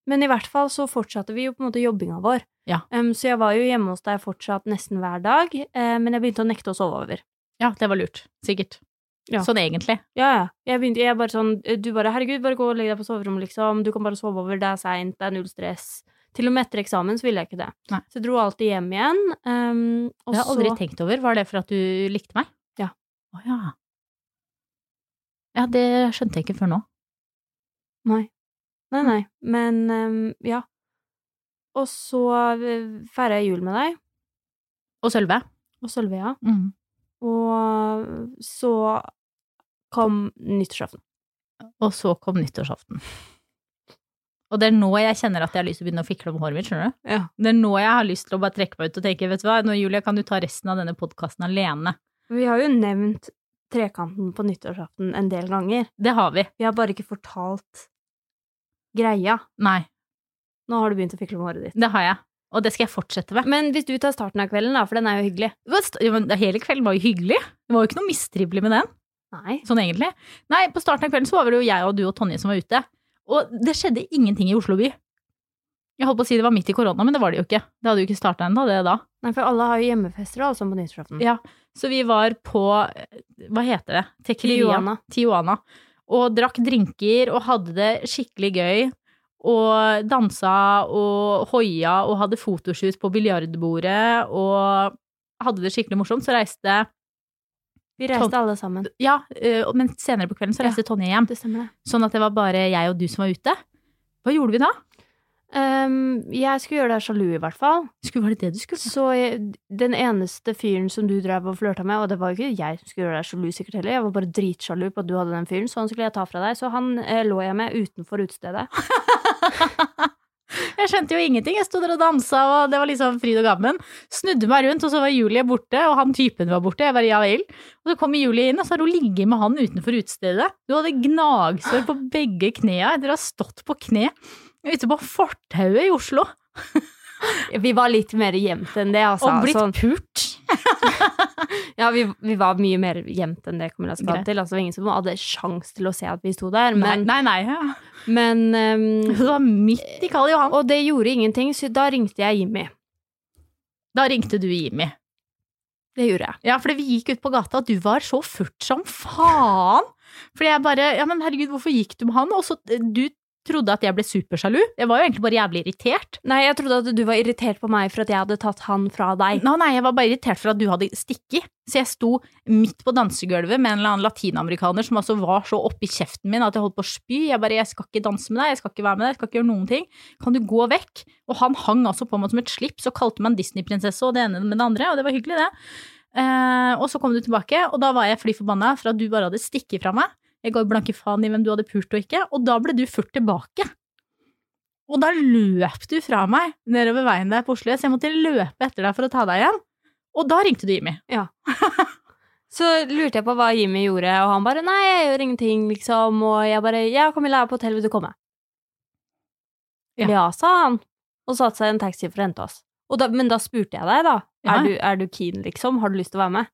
Speaker 2: Men i hvert fall så fortsatte vi jo på en måte jobbinga vår.
Speaker 1: Ja.
Speaker 2: Em, så jeg var jo hjemme hos deg fortsatt nesten hver dag, eh, men jeg begynte å nekte å sove over.
Speaker 1: Ja, det var lurt. Sikkert.
Speaker 2: Ja.
Speaker 1: Sånn egentlig.
Speaker 2: Ja, ja. Jeg begynte, jeg bare sånn, du bare 'herregud, bare gå og legg deg på soverommet', liksom. Du kan bare sove over, det er seint, det er null stress. Til og med etter eksamen så ville jeg ikke det.
Speaker 1: Nei.
Speaker 2: Så jeg dro alltid hjem igjen. em, og
Speaker 1: Det har jeg aldri
Speaker 2: så
Speaker 1: tenkt over. Var det for at du likte meg?
Speaker 2: Ja.
Speaker 1: Å ja. Ja, det skjønte jeg ikke før nå.
Speaker 2: Nei. Nei, nei. Men em, ja. Og så eh, feirer jeg jul med deg
Speaker 1: Og Sølve.
Speaker 2: og Sølvea,
Speaker 1: Mm.
Speaker 2: og så kom nyttårsaften.
Speaker 1: Og så kom nyttårsaften. Og det er nå jeg kjenner at jeg har lyst til å begynne å fikle med håret mitt, skjønner du?
Speaker 2: Ja.
Speaker 1: Det er nå jeg har lyst til å bare trekke meg ut og tenke, vet du hva, nå Julia, kan du ta resten av denne podkasten alene?
Speaker 2: Vi har jo nevnt trekanten på nyttårsaften en del ganger.
Speaker 1: Det har vi.
Speaker 2: Vi har bare ikke fortalt greia.
Speaker 1: Nei,
Speaker 2: Nå har du begynt å fikle med håret ditt.
Speaker 1: det har jeg. Og det skal jeg fortsette med.
Speaker 2: Men hvis du tar starten av kvelden, da, for den er jo hyggelig.
Speaker 1: Det var st- ja, men Hele kvelden var jo hyggelig. Det var jo ikke noe mistrivelig med den.
Speaker 2: Nei.
Speaker 1: sånn egentlig. Nei, på starten av kvelden så var vel jo jeg og du og Tonje som var ute. Og det skjedde ingenting i Oslo by. Jeg holdt på å si det var midt i korona, men det var det jo ikke. Det hadde jo ikke starta ennå, det da.
Speaker 2: Nei, for alle har jo hjemmefester og alt sånt på nyttårsaften.
Speaker 1: Ja, Så vi var på eh, Hva heter det? Tequila.
Speaker 2: Tijuana.
Speaker 1: Tijuana. Og drakk drinker og hadde det skikkelig gøy. Og dansa og hoia og hadde fotoshoot på biljardbordet og hadde det skikkelig morsomt. Så reiste
Speaker 2: Vi reiste alle sammen.
Speaker 1: Ja, eh, men senere på kvelden så reiste Tonje hjem.
Speaker 2: Det stemmer, det.
Speaker 1: Sånn at det var bare jeg og du som var ute. Hva gjorde vi da?
Speaker 2: Ehm, jeg skulle gjøre deg sjalu, i hvert fall.
Speaker 1: Skulle, var det det du skulle?
Speaker 2: Så jeg, den eneste fyren som du drev og flørta med, og det var jo ikke jeg som skulle gjøre deg sjalu, sikkert heller, jeg var bare dritsjalu på at du hadde den fyren, så han skulle jeg ta fra deg. Så han eh, lå jeg med utenfor utestedet.
Speaker 1: Jeg skjønte jo ingenting. Jeg sto der og dansa, og det var liksom fryd og gammen. Snudde meg rundt, og så var Julie borte, og han typen var borte. Jeg bare ja vel. Og så kommer Julie inn, og så har hun ligget med han utenfor utestedet. Du hadde gnagsår på begge knea etter å ha stått på kne ute på fortauet i Oslo
Speaker 2: Vi var litt mer gjemt enn det, altså.
Speaker 1: og blitt
Speaker 2: Sånn,
Speaker 1: pult.
Speaker 2: ja, vi, vi var mye mer gjemt enn det, kommer jeg skal
Speaker 1: Greit.
Speaker 2: til. Altså, det var ingen som hadde sjans til å se at vi sto der,
Speaker 1: Nei,
Speaker 2: men,
Speaker 1: nei, nei. Ja.
Speaker 2: men ehm,
Speaker 1: Hun var midt i Karl Johan.
Speaker 2: Og det gjorde ingenting, så da ringte jeg Jimmy.
Speaker 1: Da ringte du Jimmy.
Speaker 2: Det gjorde jeg.
Speaker 1: Ja, fordi vi gikk ut på gata, og du var så furt som faen. Fordi jeg bare Ja, men herregud, hvorfor gikk du med han? Og så eh, du trodde at jeg ble supersjalu. Jeg var jo egentlig bare jævlig irritert.
Speaker 2: Nei, jeg trodde at du var irritert på meg for at jeg hadde tatt han fra deg.
Speaker 1: Nei, nei, jeg var bare irritert for at du hadde stikki. Så jeg sto midt på dansegulvet med en eller annen latinamerikaner som altså var så oppi kjeften min at jeg holdt på å spy. Jeg bare 'jeg skal ikke danse med deg, jeg skal ikke være med deg, jeg skal ikke gjøre noen ting'. Kan du gå vekk? Og han hang altså på meg som et slips og kalte meg en Disney-prinsesse og det ene med det andre, og det var hyggelig, det. Eh, og så kom du tilbake, og da var jeg fly forbanna for at du bare hadde stikket fra meg. Jeg ga jo blanke faen i hvem du hadde pult og ikke, og da ble du furt tilbake. Og da løp du fra meg nedover veien der på Oslo S, jeg måtte løpe etter deg for å ta deg igjen. Og da ringte du Jimmy.
Speaker 2: Så lurte jeg på hva Jimmy gjorde, og han bare 'nei, jeg gjør ingenting', liksom. Og jeg bare 'ja, Camilla jeg er på hotell, vil du komme'?
Speaker 1: Ja.
Speaker 2: Ja, sa han, og satte seg i en taxi for å hente oss. Og da, men da spurte jeg deg, da.
Speaker 1: Ja.
Speaker 2: Er, du, er du keen, liksom? Har du lyst til å være med?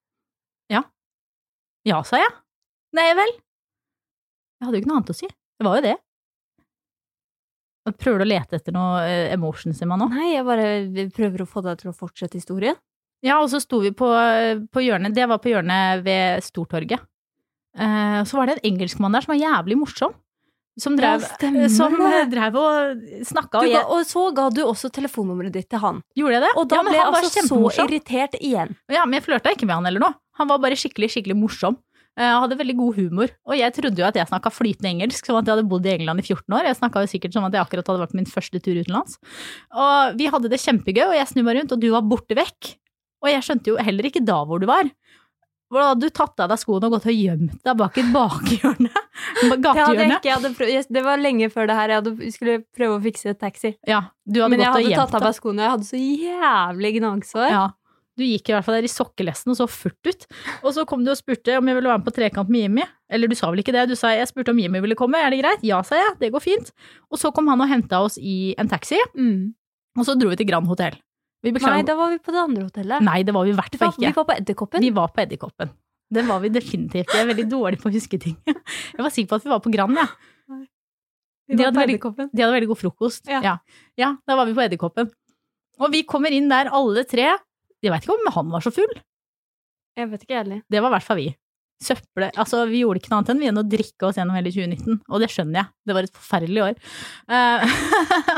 Speaker 1: Ja, sa jeg. Nei vel. Jeg hadde jo ikke noe annet å si. Det var jo det. Jeg prøver du å lete etter noe eh, emotions i meg nå?
Speaker 2: Nei, jeg bare prøver å få deg til å fortsette historien.
Speaker 1: Ja, og så sto vi på, eh, på hjørnet, det var på hjørnet ved Stortorget. Eh, så var det en engelskmann der som var jævlig morsom. Som drev,
Speaker 2: stemmer
Speaker 1: som
Speaker 2: det.
Speaker 1: drev og snakka, og
Speaker 2: Du ga,
Speaker 1: jeg,
Speaker 2: og så ga du også telefonnummeret ditt til han.
Speaker 1: gjorde jeg det?
Speaker 2: Og da
Speaker 1: ja, men
Speaker 2: ble jeg
Speaker 1: han var
Speaker 2: altså så
Speaker 1: kjempemorsom.
Speaker 2: irritert igjen.
Speaker 1: Ja, men jeg flørta ikke med han eller noe. Han var bare skikkelig, skikkelig morsom. Eh, og hadde veldig god humor. Og jeg trodde jo at jeg snakka flytende engelsk, som at jeg hadde bodd i England i 14 år. Jeg snakka jo sikkert som at jeg akkurat hadde vært på min første tur utenlands. Og vi hadde det kjempegøy, og jeg snur meg rundt, og du var borte vekk. Og jeg skjønte jo heller ikke da hvor du var. Hvor da hadde du tatt av deg skoene og gått og gjemt deg bak et bakhjørne?
Speaker 2: Det, hadde jeg
Speaker 1: Gatehjørne.
Speaker 2: ikke, jeg hadde prøv, jeg, det var lenge før det her. Jeg hadde, skulle prøve å fikse et taxi.
Speaker 1: Ja, du hadde
Speaker 2: Men jeg
Speaker 1: gått og
Speaker 2: hadde
Speaker 1: gjemt
Speaker 2: tatt av
Speaker 1: deg.
Speaker 2: meg skoene, og jeg hadde så jævlig gnagsår.
Speaker 1: Ja. Du gikk i hvert fall der i sokkelesten og så furt ut. Og så kom du og spurte om jeg ville være med på Trekant med Jimmy. Eller du sa vel ikke det, du sa jeg spurte om Jimmy ville komme, er det greit? Ja, sa jeg, det går fint. Og så kom han og henta oss i en taxi,
Speaker 2: Mm.
Speaker 1: og så dro vi til Grand Hotell. Vi
Speaker 2: Nei,
Speaker 1: beklager. Nei,
Speaker 2: da var vi på det andre hotellet.
Speaker 1: det var vi i hvert
Speaker 2: vi, var,
Speaker 1: fall
Speaker 2: vi
Speaker 1: ikke.
Speaker 2: var på Edderkoppen.
Speaker 1: Vi var på Edderkoppen. Den var vi definitivt. Jeg er veldig dårlig på å huske ting. Jeg var sikker på at vi var på Grand, jeg.
Speaker 2: Vi
Speaker 1: de
Speaker 2: var
Speaker 1: hadde
Speaker 2: på
Speaker 1: veldig-
Speaker 2: Edderkoppen.
Speaker 1: De hadde veldig god frokost.
Speaker 2: Ja.
Speaker 1: Ja. ja, da var vi på Edderkoppen. Og vi kommer inn der alle tre. Jeg veit ikke om han var så full.
Speaker 2: Jeg vet ikke ærlig.
Speaker 1: Det var i hvert fall vi. Søple, altså Vi gjorde ikke noe annet enn vi enn å drikke oss gjennom hele 2019, og det skjønner jeg. Det var et forferdelig år. Eh,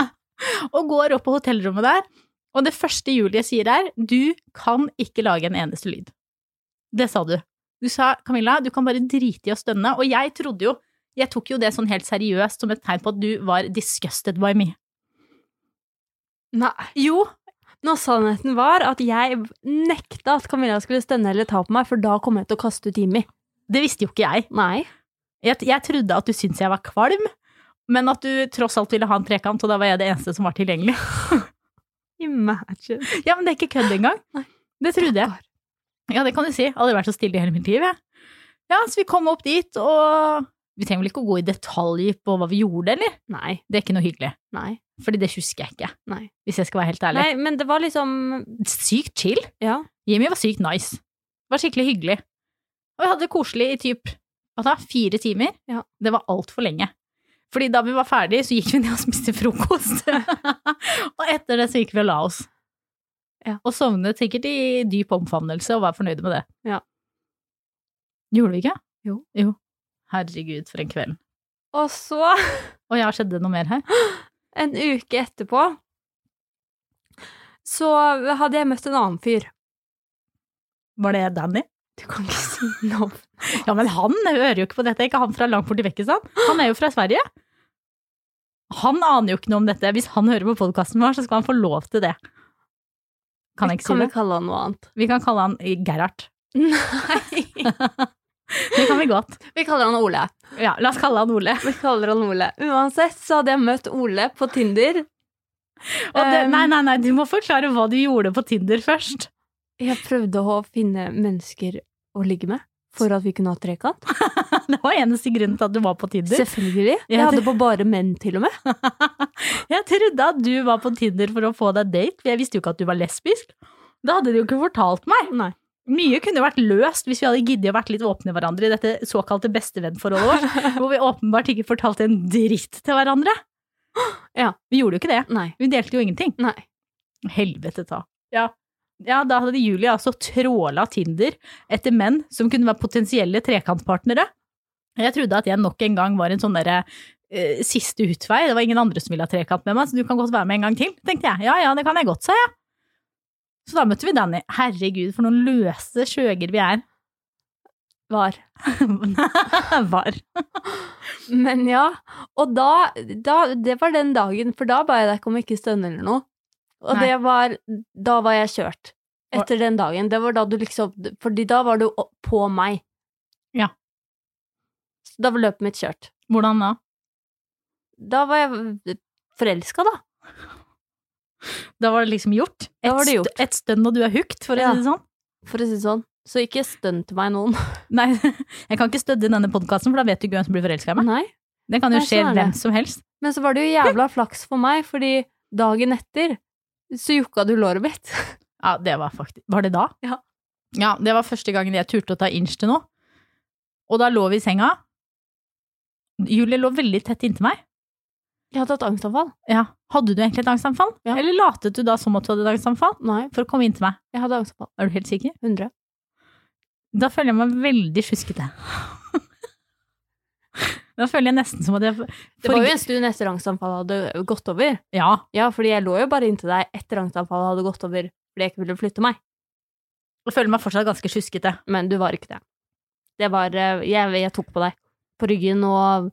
Speaker 1: og går opp på hotellrommet der, og det første Julie sier er 'du kan ikke lage en eneste lyd'. Det sa du. Du sa 'Camilla, du kan bare drite i å stønne', og jeg trodde jo Jeg tok jo det sånn helt seriøst som et tegn på at du var disgusted by me.
Speaker 2: Nei.
Speaker 1: Jo,
Speaker 2: Nå sannheten var at jeg nekta at Camilla skulle stønne eller ta på meg, for da kom jeg til å kaste ut Jimmy.
Speaker 1: det visste jo ikke jeg.
Speaker 2: Nei.
Speaker 1: Jeg, jeg trodde at du syntes jeg var kvalm, men at du tross alt ville ha en trekant, og da var jeg det eneste som var tilgjengelig.
Speaker 2: Imagine.
Speaker 1: Ja, men det er ikke kødd engang.
Speaker 2: Nei.
Speaker 1: Det trodde jeg.
Speaker 2: Stakkar.
Speaker 1: Ja, det kan du si. Jeg har Aldri vært så stille i hele mitt liv, jeg. Ja, så vi kom opp dit, og vi trenger vel ikke å gå i detalj på hva vi gjorde, eller?
Speaker 2: Nei.
Speaker 1: Det er ikke noe hyggelig.
Speaker 2: Nei.
Speaker 1: Fordi det husker jeg ikke,
Speaker 2: Nei.
Speaker 1: hvis jeg skal være helt ærlig.
Speaker 2: Nei, men det var liksom
Speaker 1: Sykt chill.
Speaker 2: Ja.
Speaker 1: Jimmy var sykt nice. Var skikkelig hyggelig. Og vi hadde det koselig i typ hva da, fire timer.
Speaker 2: Ja.
Speaker 1: Det var altfor lenge. Fordi da vi var ferdig, så gikk vi ned og spiste frokost. og etter det så gikk vi og la oss.
Speaker 2: Ja.
Speaker 1: Og sovnet sikkert i dyp omfavnelse og var fornøyde med det.
Speaker 2: Ja.
Speaker 1: Gjorde vi ikke?
Speaker 2: Jo.
Speaker 1: Herregud, for en kveld.
Speaker 2: Og så,
Speaker 1: Og ja, skjedde det noe mer her?
Speaker 2: en uke etterpå, så hadde jeg møtt en annen fyr.
Speaker 1: Var det Danny?
Speaker 2: Du kan ikke si navn.
Speaker 1: Ja, men han hører jo ikke på dette. Ikke han fra langt borti Vekkesand. Han er jo fra Sverige. Han aner jo ikke noe om dette. Hvis han hører på podkasten vår, så skal han få lov til det. Kan jeg ikke si
Speaker 2: Kan
Speaker 1: det?
Speaker 2: vi kalle han noe annet?
Speaker 1: Vi kan kalle han eh, Gerhard.
Speaker 2: Nei.
Speaker 1: Det kan vi godt.
Speaker 2: Vi kaller han Ole.
Speaker 1: Ja, la oss kalle han Ole.
Speaker 2: Vi kaller han Ole. Uansett så hadde jeg møtt Ole på Tinder.
Speaker 1: Og det,
Speaker 2: Um,
Speaker 1: nei, nei, nei, du må forklare hva du gjorde på Tinder først.
Speaker 2: Jeg prøvde å finne mennesker å ligge med for at vi kunne ha trekant.
Speaker 1: Det var eneste grunnen til at du var på Tinder.
Speaker 2: Selvfølgelig. Jeg
Speaker 1: Ja, det-
Speaker 2: hadde på bare menn, til og med.
Speaker 1: Jeg trodde at du var på Tinder for å få deg date, for jeg visste jo ikke at du var lesbisk. Da hadde de jo ikke fortalt meg.
Speaker 2: Nei.
Speaker 1: Mye kunne jo vært løst hvis vi hadde giddet å vært litt åpne med hverandre i dette såkalte bestevennforholdet vårt, hvor vi åpenbart ikke fortalte en dritt til hverandre.
Speaker 2: Ja.
Speaker 1: Vi gjorde jo ikke det.
Speaker 2: Nei.
Speaker 1: Vi delte jo ingenting.
Speaker 2: Nei.
Speaker 1: Helvete ta. Ja. Ja, da hadde Julie altså tråla Tinder etter menn som kunne være potensielle trekantpartnere. Jeg trodde at jeg nok en gang var en sånn derre eh, siste utvei, det var ingen andre som ville ha trekant med meg, så du kan godt være med en gang til, tenkte jeg. Ja ja, det kan jeg godt, sa jeg. Så da møtte vi Danny. Herregud, for noen løse skjøger vi er.
Speaker 2: Var.
Speaker 1: Var.
Speaker 2: Men ja, og da, da Det var den dagen, for da ba jeg deg ikke om ikke stønne eller noe. Og
Speaker 1: Nei.
Speaker 2: det var Da var jeg kjørt. Etter den dagen. Det var da du liksom Fordi da var du opp- på meg.
Speaker 1: Ja.
Speaker 2: Så da var løpet mitt kjørt.
Speaker 1: Hvordan da?
Speaker 2: Da var jeg forelska, da.
Speaker 1: Da var det liksom gjort?
Speaker 2: Da var
Speaker 1: Et
Speaker 2: det
Speaker 1: st-
Speaker 2: gjort.
Speaker 1: Et stønn og du er hooked, for å
Speaker 2: Ja.
Speaker 1: si det sånn?
Speaker 2: For å si det sånn. Så ikke stønn til meg noen.
Speaker 1: Nei, jeg kan ikke støtte denne podkasten, for da vet du ikke hvem som blir forelska i meg.
Speaker 2: Nei.
Speaker 1: Det kan jo
Speaker 2: Nei,
Speaker 1: skje
Speaker 2: sånn er det.
Speaker 1: hvem som helst.
Speaker 2: Men så var det jo jævla flaks for meg, fordi dagen etter så jukka du låret mitt.
Speaker 1: Ja, det var faktisk Var det da?
Speaker 2: Ja.
Speaker 1: Ja, det var første gangen jeg turte å ta inch til noe. Og da lå vi i senga. Julie lå veldig tett inntil meg.
Speaker 2: Jeg hadde hatt angstanfall.
Speaker 1: Ja. Hadde du egentlig et angstanfall?
Speaker 2: Ja.
Speaker 1: Eller latet du da som at du hadde et angstanfall?
Speaker 2: Nei,
Speaker 1: For å komme inn til meg.
Speaker 2: jeg hadde angstanfall.
Speaker 1: Er du helt sikker?
Speaker 2: 100.
Speaker 1: Da føler jeg meg veldig sjuskete. da føler jeg nesten som at jeg
Speaker 2: Det var jo en stund etter angstanfallet hadde gått over.
Speaker 1: Ja.
Speaker 2: Ja, fordi jeg lå jo bare inntil deg etter angstanfallet hadde gått over fordi jeg ikke ville flytte meg.
Speaker 1: Jeg føler meg fortsatt ganske sjuskete.
Speaker 2: Men du var ikke det. Det var eh, Jeg, jeg tok på deg. På ryggen og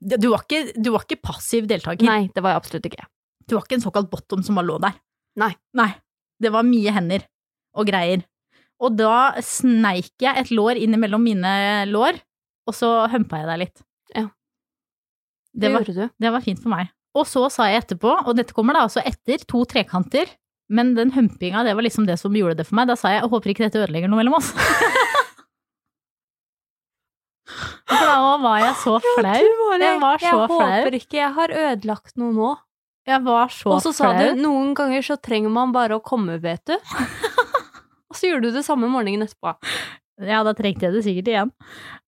Speaker 1: Du var ikke, du var ikke passiv deltaker.
Speaker 2: Nei, det var jeg absolutt ikke.
Speaker 1: Det var ikke en såkalt bottom som bare lå der.
Speaker 2: Nei.
Speaker 1: Det var mye hender og greier. Og da sneik jeg et lår innimellom mine lår, og så humpa jeg deg litt.
Speaker 2: Ja.
Speaker 1: Det var,
Speaker 2: gjorde du.
Speaker 1: det var fint for meg. Og så sa jeg etterpå, og dette kommer da altså etter, to trekanter, men den humpinga, det var liksom det som gjorde det for meg. Da sa jeg jeg håper ikke dette ødelegger noe mellom oss. For da var jeg så flau. Jeg var så
Speaker 2: jeg
Speaker 1: flau.
Speaker 2: håper ikke jeg har ødelagt noe nå.
Speaker 1: Jeg var så flau.
Speaker 2: Og så sa du noen ganger så trenger man bare å komme, vet du. Og så gjorde du det samme morgenen etterpå.
Speaker 1: Ja, da trengte jeg det sikkert igjen.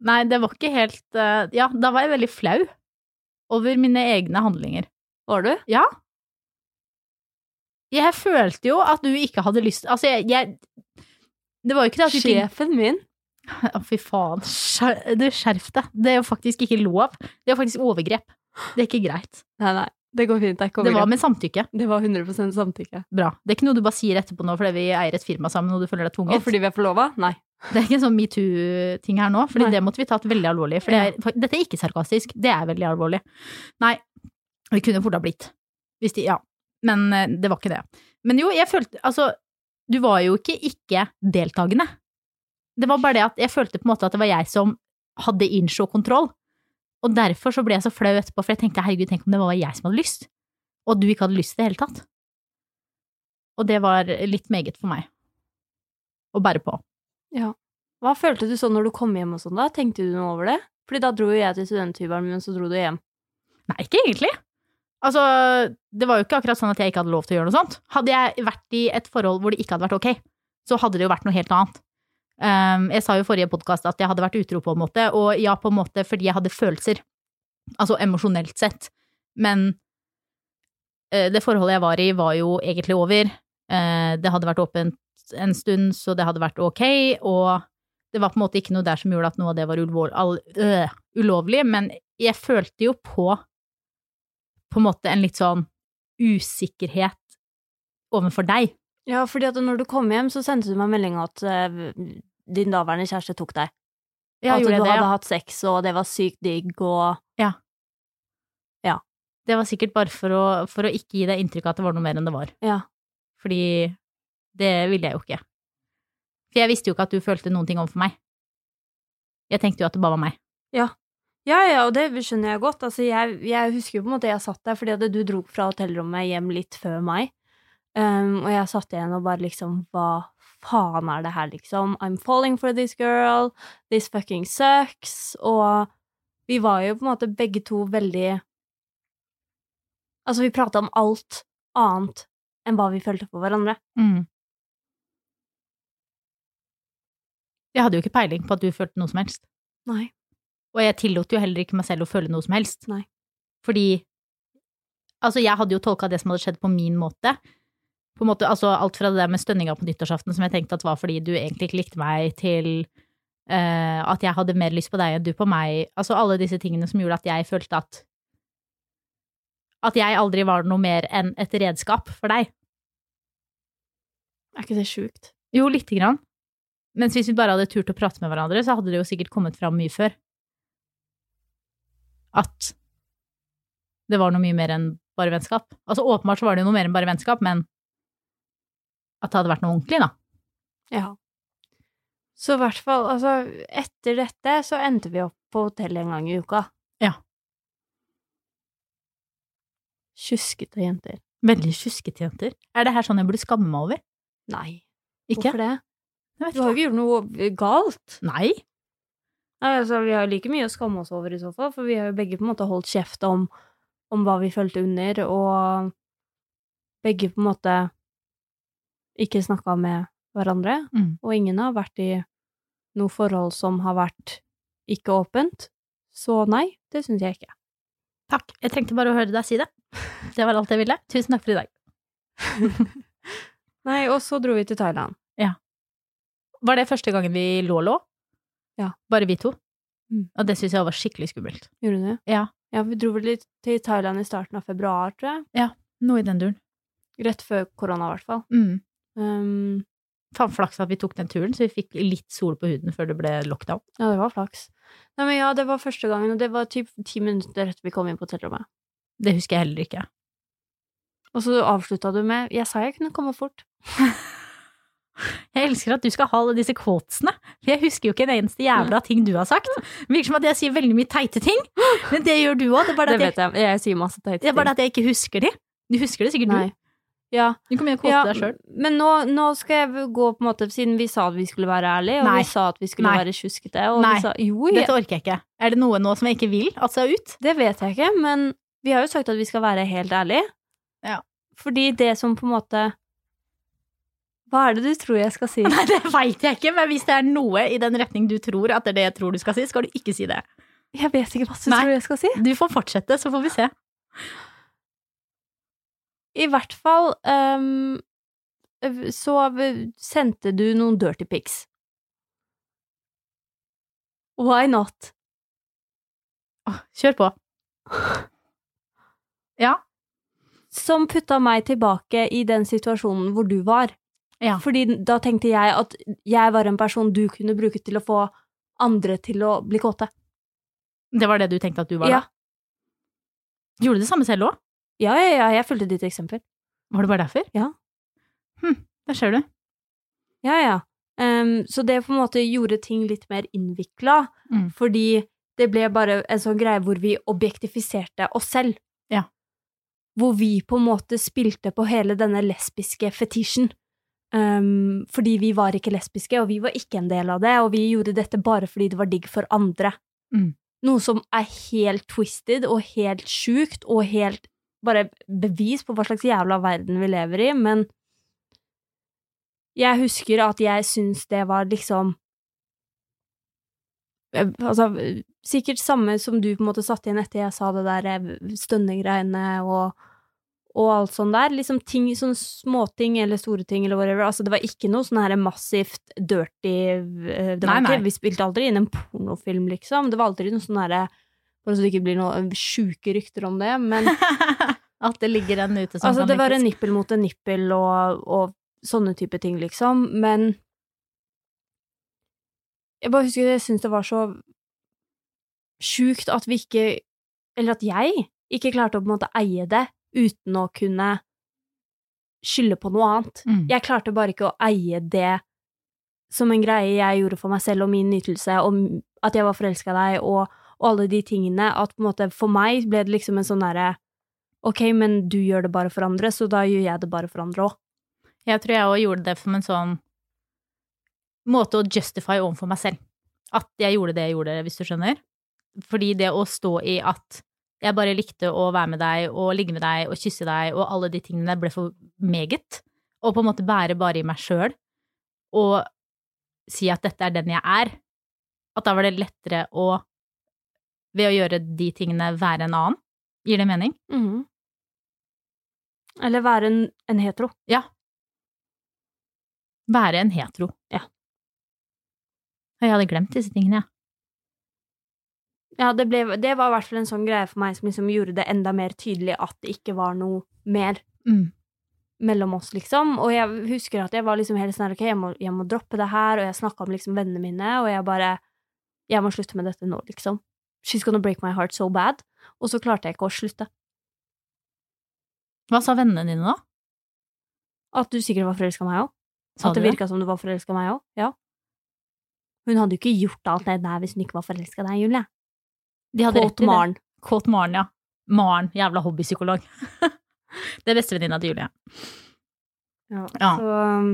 Speaker 1: Nei, det var ikke helt eh, Ja, da var jeg veldig flau over mine egne handlinger.
Speaker 2: Var du?
Speaker 1: Jeg følte jo at du ikke hadde lyst Altså, jeg, jeg Det var jo ikke det at du ikke
Speaker 2: Sjefen min.
Speaker 1: Å, fy faen. skjer- Du, skjerf deg. Det er jo faktisk ikke lov. Det er jo faktisk overgrep. Det er ikke greit.
Speaker 2: Nei, nei, det går fint. Det, er ikke
Speaker 1: Det var
Speaker 2: overgrep.
Speaker 1: med samtykke.
Speaker 2: det var 100 samtykke.
Speaker 1: Bra. Det er ikke noe du bare sier etterpå nå fordi vi eier et firma sammen og du føler deg
Speaker 2: Og
Speaker 1: tvunget.
Speaker 2: fordi vi er forlova? Nei.
Speaker 1: Det er ikke en sånn metoo-ting her nå, fordi
Speaker 2: Nei.
Speaker 1: det måtte vi tatt veldig alvorlig. For det er, for, dette er ikke sarkastisk, det er veldig alvorlig. Nei, det kunne fort ha blitt. Hvis de, ja. Men eh, det var ikke det. Men jo, jeg følte Altså, du var jo ikke ikke-deltakende. Det var bare det at jeg følte på en måte at det var jeg som hadde innsjå kontroll. Og derfor så ble jeg så flau etterpå, for jeg tenkte herregud, tenk om det var jeg som hadde lyst, og du ikke hadde lyst i det hele tatt. Og det var litt meget for meg å bære på.
Speaker 2: Hva følte du sånn når du kom hjem og sånn da? Tenkte du noe over det? Fordi da dro jo jeg til studenthybelen min, så dro du hjem.
Speaker 1: Nei, ikke egentlig. Altså, det var jo ikke akkurat sånn at jeg ikke hadde lov til å gjøre noe sånt. Hadde jeg vært i et forhold hvor det ikke hadde vært ok, så hadde det jo vært noe helt annet. Um, jeg sa jo i forrige podkast at jeg hadde vært utro på en måte, og ja, på en måte fordi jeg hadde følelser. Altså emosjonelt sett. Men eh, det forholdet jeg var i, var jo egentlig over. Eh, det hadde vært åpent en stund, så det hadde vært ok, og det var på en måte ikke noe der som gjorde at noe av det var ulvor, all, øh, ulovlig, men jeg følte jo på på en måte en litt sånn usikkerhet overfor deg.
Speaker 2: Ja, fordi at når du kom hjem, så sendte du meg melding at eh, din daværende kjæreste tok deg.
Speaker 1: Ja,
Speaker 2: at du
Speaker 1: gjorde jeg det,
Speaker 2: hadde
Speaker 1: ja.
Speaker 2: hatt sex, og det var sykt digg, og
Speaker 1: det var sikkert bare for å, for å ikke gi deg inntrykk av at det var noe mer enn det var.
Speaker 2: Ja.
Speaker 1: Fordi det ville jeg jo ikke. For jeg visste jo ikke at du følte noen ting overfor meg. Jeg tenkte jo at det bare var meg.
Speaker 2: Ja, ja, og det skjønner jeg godt. Altså, jeg, jeg husker jo på en måte jeg satt der, fordi at du dro fra hotellrommet hjem litt før meg. Um, og jeg satt igjen og bare liksom Hva faen er det her, liksom? I'm falling for this girl. This fucking sucks. Og vi var jo på en måte begge to veldig Altså, vi prata om alt annet enn hva vi følte for hverandre.
Speaker 1: Mm. Jeg hadde jo ikke peiling på at du følte noe som helst.
Speaker 2: Nei.
Speaker 1: Og jeg tillot jo heller ikke meg selv å føle noe som helst.
Speaker 2: Nei.
Speaker 1: Fordi Altså, jeg hadde jo tolka det som hadde skjedd, på min måte. På en måte altså alt fra det der med stønninga på nyttårsaften, som jeg tenkte at var fordi du egentlig ikke likte meg, til eh, at jeg hadde mer lyst på deg enn du på meg. Altså alle disse tingene som gjorde at jeg følte at At jeg aldri var noe mer enn et redskap for deg.
Speaker 2: Er ikke det sjukt?
Speaker 1: Jo, lite grann. Mens hvis vi bare hadde turt å prate med hverandre, så hadde det jo sikkert kommet fram mye før. At det var noe mye mer enn bare vennskap. Altså åpenbart så var det jo noe mer enn bare vennskap, men at det hadde vært noe ordentlig, da.
Speaker 2: Ja. Så i hvert fall, altså, etter dette så endte vi opp på hotellet en gang i uka.
Speaker 1: Ja.
Speaker 2: Tjuskete jenter.
Speaker 1: Veldig tjuskete jenter. Er det her sånn jeg burde skamme meg over?
Speaker 2: Nei.
Speaker 1: Ikke?
Speaker 2: Hvorfor det?
Speaker 1: Jeg vet
Speaker 2: Du har jo
Speaker 1: ikke.
Speaker 2: ikke gjort noe galt.
Speaker 1: Nei.
Speaker 2: Nei, altså, vi har jo like mye å skamme oss over i så fall, for vi har jo begge på en måte holdt kjeft om, om hva vi følte under, og begge på en måte ikke snakka med hverandre.
Speaker 1: Mm.
Speaker 2: og ingen har vært i noe forhold som har vært ikke åpent. Så nei, det syns jeg ikke.
Speaker 1: Takk. Jeg trengte bare å høre deg si det. Det var alt jeg ville. Tusen takk for i dag.
Speaker 2: Nei, og så dro vi til Thailand.
Speaker 1: Var det første gangen vi lå-lå?
Speaker 2: Ja.
Speaker 1: Bare vi to?
Speaker 2: Mm.
Speaker 1: Og det syns jeg var skikkelig skummelt.
Speaker 2: Gjorde du det?
Speaker 1: Ja.
Speaker 2: Ja, vi dro vel litt til Thailand i starten av februar, tror jeg.
Speaker 1: Noe i den duren.
Speaker 2: Rett før korona, i hvert fall.
Speaker 1: Mm.
Speaker 2: Um,
Speaker 1: Faen flaks at vi tok den turen, så vi fikk litt sol på huden før det ble lockdown.
Speaker 2: ja, det var flaks. Nei, men ja, det var første gangen, og det var typ ti minutter etter vi kom inn på hotellrommet.
Speaker 1: Det husker jeg heller ikke.
Speaker 2: Og så avslutta du med 'Jeg sa jeg kunne komme fort'.
Speaker 1: Jeg elsker at du skal ha alle disse quotesene, for jeg husker jo ikke en eneste
Speaker 2: Mm.
Speaker 1: jævla ting du har sagt. Det virker som at jeg sier veldig mye teite ting, men det gjør du òg. Det er bare
Speaker 2: Det
Speaker 1: det at jeg,
Speaker 2: vet jeg. Jeg sier masse teite
Speaker 1: det er bare det at jeg ikke husker de. Du husker det sikkert,
Speaker 2: Nei.
Speaker 1: du.
Speaker 2: Ja,
Speaker 1: Du kan begynne å kåte
Speaker 2: ja,
Speaker 1: deg sjøl.
Speaker 2: men nå, nå skal jeg gå på en måte Siden vi sa at vi skulle være ærlige, og
Speaker 1: Nei.
Speaker 2: vi sa at vi skulle
Speaker 1: Nei.
Speaker 2: være tjuskete, og
Speaker 1: Nei.
Speaker 2: vi sa jo, jeg-
Speaker 1: Dette orker jeg ikke. Er det noe nå som jeg ikke vil at skal ut?
Speaker 2: Det vet jeg ikke, men vi har jo sagt at vi skal være helt ærlige.
Speaker 1: Ja.
Speaker 2: Fordi det som på en måte Hva er det du tror jeg skal si?
Speaker 1: Nei, det veit jeg ikke, men hvis det er noe i den retning du tror at det er det jeg tror du skal si, skal du ikke si det.
Speaker 2: Jeg vet ikke hva du
Speaker 1: Nei.
Speaker 2: tror jeg skal si.
Speaker 1: Du får fortsette, så får vi se.
Speaker 2: I hvert fall ehm, så sendte du noen dirty pics. Why not?
Speaker 1: Åh, Kjør på. Ja.
Speaker 2: Som putta meg tilbake i den situasjonen hvor du var.
Speaker 1: Ja.
Speaker 2: Fordi da tenkte jeg at jeg var en person du kunne bruke til å få andre til å bli kåte.
Speaker 1: Det var det du tenkte at du var,
Speaker 2: Ja.
Speaker 1: da? Gjorde du det samme selv òg?
Speaker 2: Ja, ja, ja, jeg fulgte ditt eksempel.
Speaker 1: Var det bare derfor?
Speaker 2: Ja.
Speaker 1: Hm, der ser du.
Speaker 2: Ja, ja. Ehm, så det på en måte gjorde ting litt mer innvikla,
Speaker 1: Mm.
Speaker 2: fordi det ble bare en sånn greie hvor vi objektifiserte oss selv.
Speaker 1: Ja.
Speaker 2: Hvor vi på en måte spilte på hele denne lesbiske fetisjen. Um, fordi vi var ikke lesbiske, og vi var ikke en del av det, og vi gjorde dette bare fordi det var digg for andre.
Speaker 1: Mm.
Speaker 2: Noe som er helt twisted og helt sjukt og helt bare bevis på hva slags jævla verden vi lever i, men jeg husker at jeg syns det var liksom Eh, Altså, sikkert samme som du på en måte satte inn etter jeg sa det der eh, stønnegreiene og og alt sånt der. Liksom ting, sånne småting eller store ting eller whatever. Altså, det var ikke noe sånn her massivt dirty eh, Det
Speaker 1: Nei,
Speaker 2: var
Speaker 1: nei.
Speaker 2: ikke, Vi spilte aldri inn en pornofilm, liksom. Det var aldri noe sånn herre Bare så det ikke blir noen sjuke rykter om det, men
Speaker 1: At det ligger en ute som
Speaker 2: altså,
Speaker 1: kan
Speaker 2: det var en
Speaker 1: lykkes.
Speaker 2: nippel mot en nippel og, og sånne type ting, liksom. Men jeg bare husker jeg syntes det var så sjukt at vi ikke Eller at jeg ikke klarte å på en måte eie det uten å kunne skylde på noe annet.
Speaker 1: Mm.
Speaker 2: Jeg klarte bare ikke å eie det som en greie jeg gjorde for meg selv, og min nytelse, og at jeg var forelska i deg, og, og alle de tingene. At på en måte for meg ble det liksom en sånn derre Ok, men du gjør det bare for andre, så da gjør jeg det bare for andre òg.
Speaker 1: Jeg tror jeg òg gjorde det som en sånn måte å justify overfor meg selv. At jeg gjorde det jeg gjorde, hvis du skjønner. Fordi det å stå i at jeg bare likte å være med deg og ligge med deg og kysse deg og alle de tingene ble for meget. Og på en måte bære bare i meg sjøl og si at dette er den jeg er. At da var det lettere å, ved å gjøre de tingene, være en annen. Gir det mening?
Speaker 2: Eller være en, en hetero.
Speaker 1: Være en hetero.
Speaker 2: Ja.
Speaker 1: Og jeg hadde glemt disse tingene, jeg.
Speaker 2: Ja, det, ble, det var i hvert fall en sånn greie for meg som liksom gjorde det enda mer tydelig at det ikke var noe mer
Speaker 1: Mm.
Speaker 2: mellom oss, liksom. Og jeg husker at jeg var liksom helt sånn her, ok, jeg må, jeg må droppe det her, og jeg snakka om liksom vennene mine, og jeg bare Jeg må slutte med dette nå, liksom. She's gonna break my heart so bad. Og så klarte jeg ikke å slutte.
Speaker 1: Hva sa vennene dine da?
Speaker 2: At du sikkert var forelska i meg òg.
Speaker 1: Sa
Speaker 2: At det
Speaker 1: du det?
Speaker 2: virka som du var forelska i meg òg. Ja. Hun hadde jo ikke gjort alt det der hvis hun ikke var forelska i deg, Julie.
Speaker 1: De hadde rett
Speaker 2: Kåt
Speaker 1: i det.
Speaker 2: Maren.
Speaker 1: Kåt Maren, ja. Maren, jævla hobbypsykolog. det er bestevenninna til Julie.
Speaker 2: Ja.
Speaker 1: Ja.
Speaker 2: Så um,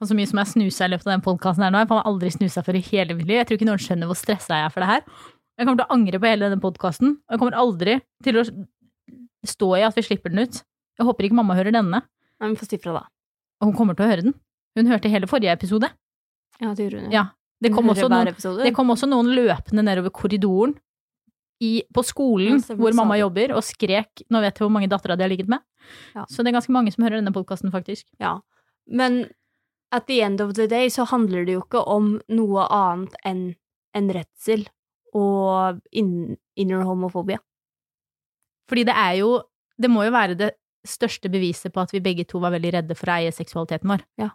Speaker 1: Og så mye som jeg snusa i løpet av den podkasten her nå. Jeg har faen meg aldri snusa før i hele mitt liv. Jeg tror ikke noen skjønner hvor stressa jeg er for det her. Jeg kommer til å angre på hele denne podkasten. Og jeg kommer aldri til å stå i at vi slipper den ut. Jeg håper ikke mamma hører denne.
Speaker 2: Nei, men få si fra, da.
Speaker 1: Og hun kommer til å høre den. Hun hørte hele forrige episode.
Speaker 2: Ja, det gjorde hun.
Speaker 1: Ja. Det kom,
Speaker 2: Hun
Speaker 1: også
Speaker 2: hører hver
Speaker 1: noen,
Speaker 2: episode.
Speaker 1: det kom også noen løpende nedover korridoren i, på
Speaker 2: Ja,
Speaker 1: skolen
Speaker 2: stemmer,
Speaker 1: hvor
Speaker 2: du sa
Speaker 1: mamma
Speaker 2: det.
Speaker 1: jobber, og skrek 'Nå vet jeg hvor mange dattera di har ligget med'.
Speaker 2: Ja.
Speaker 1: Så det er ganske mange som hører denne podkasten, faktisk.
Speaker 2: Ja. Men at the end of the day så handler det jo ikke om noe annet enn en redsel og in inner homofobia.
Speaker 1: Fordi det er jo Det må jo være det største beviset på at vi begge to var veldig redde for å eie seksualiteten vår.
Speaker 2: Ja.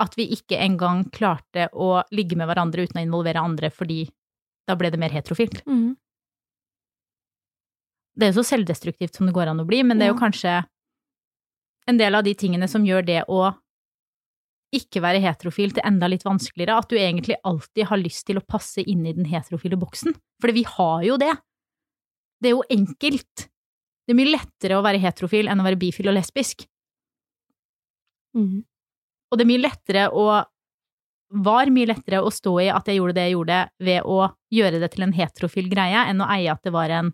Speaker 1: At vi ikke engang klarte å ligge med hverandre uten å involvere andre, fordi da ble det mer heterofilt. Det er jo så selvdestruktivt som det går an å bli, men det er jo
Speaker 2: Ja.
Speaker 1: kanskje en del av de tingene som gjør det å ikke være heterofil til enda litt vanskeligere, at du egentlig alltid har lyst til å passe inn i den heterofile boksen. For vi har jo det. Det er jo enkelt. Det er mye lettere å være heterofil enn å være bifil og lesbisk. Og det er mye lettere å var mye lettere å stå i at jeg gjorde det jeg gjorde, ved å gjøre det til en heterofil greie, enn å eie at det var en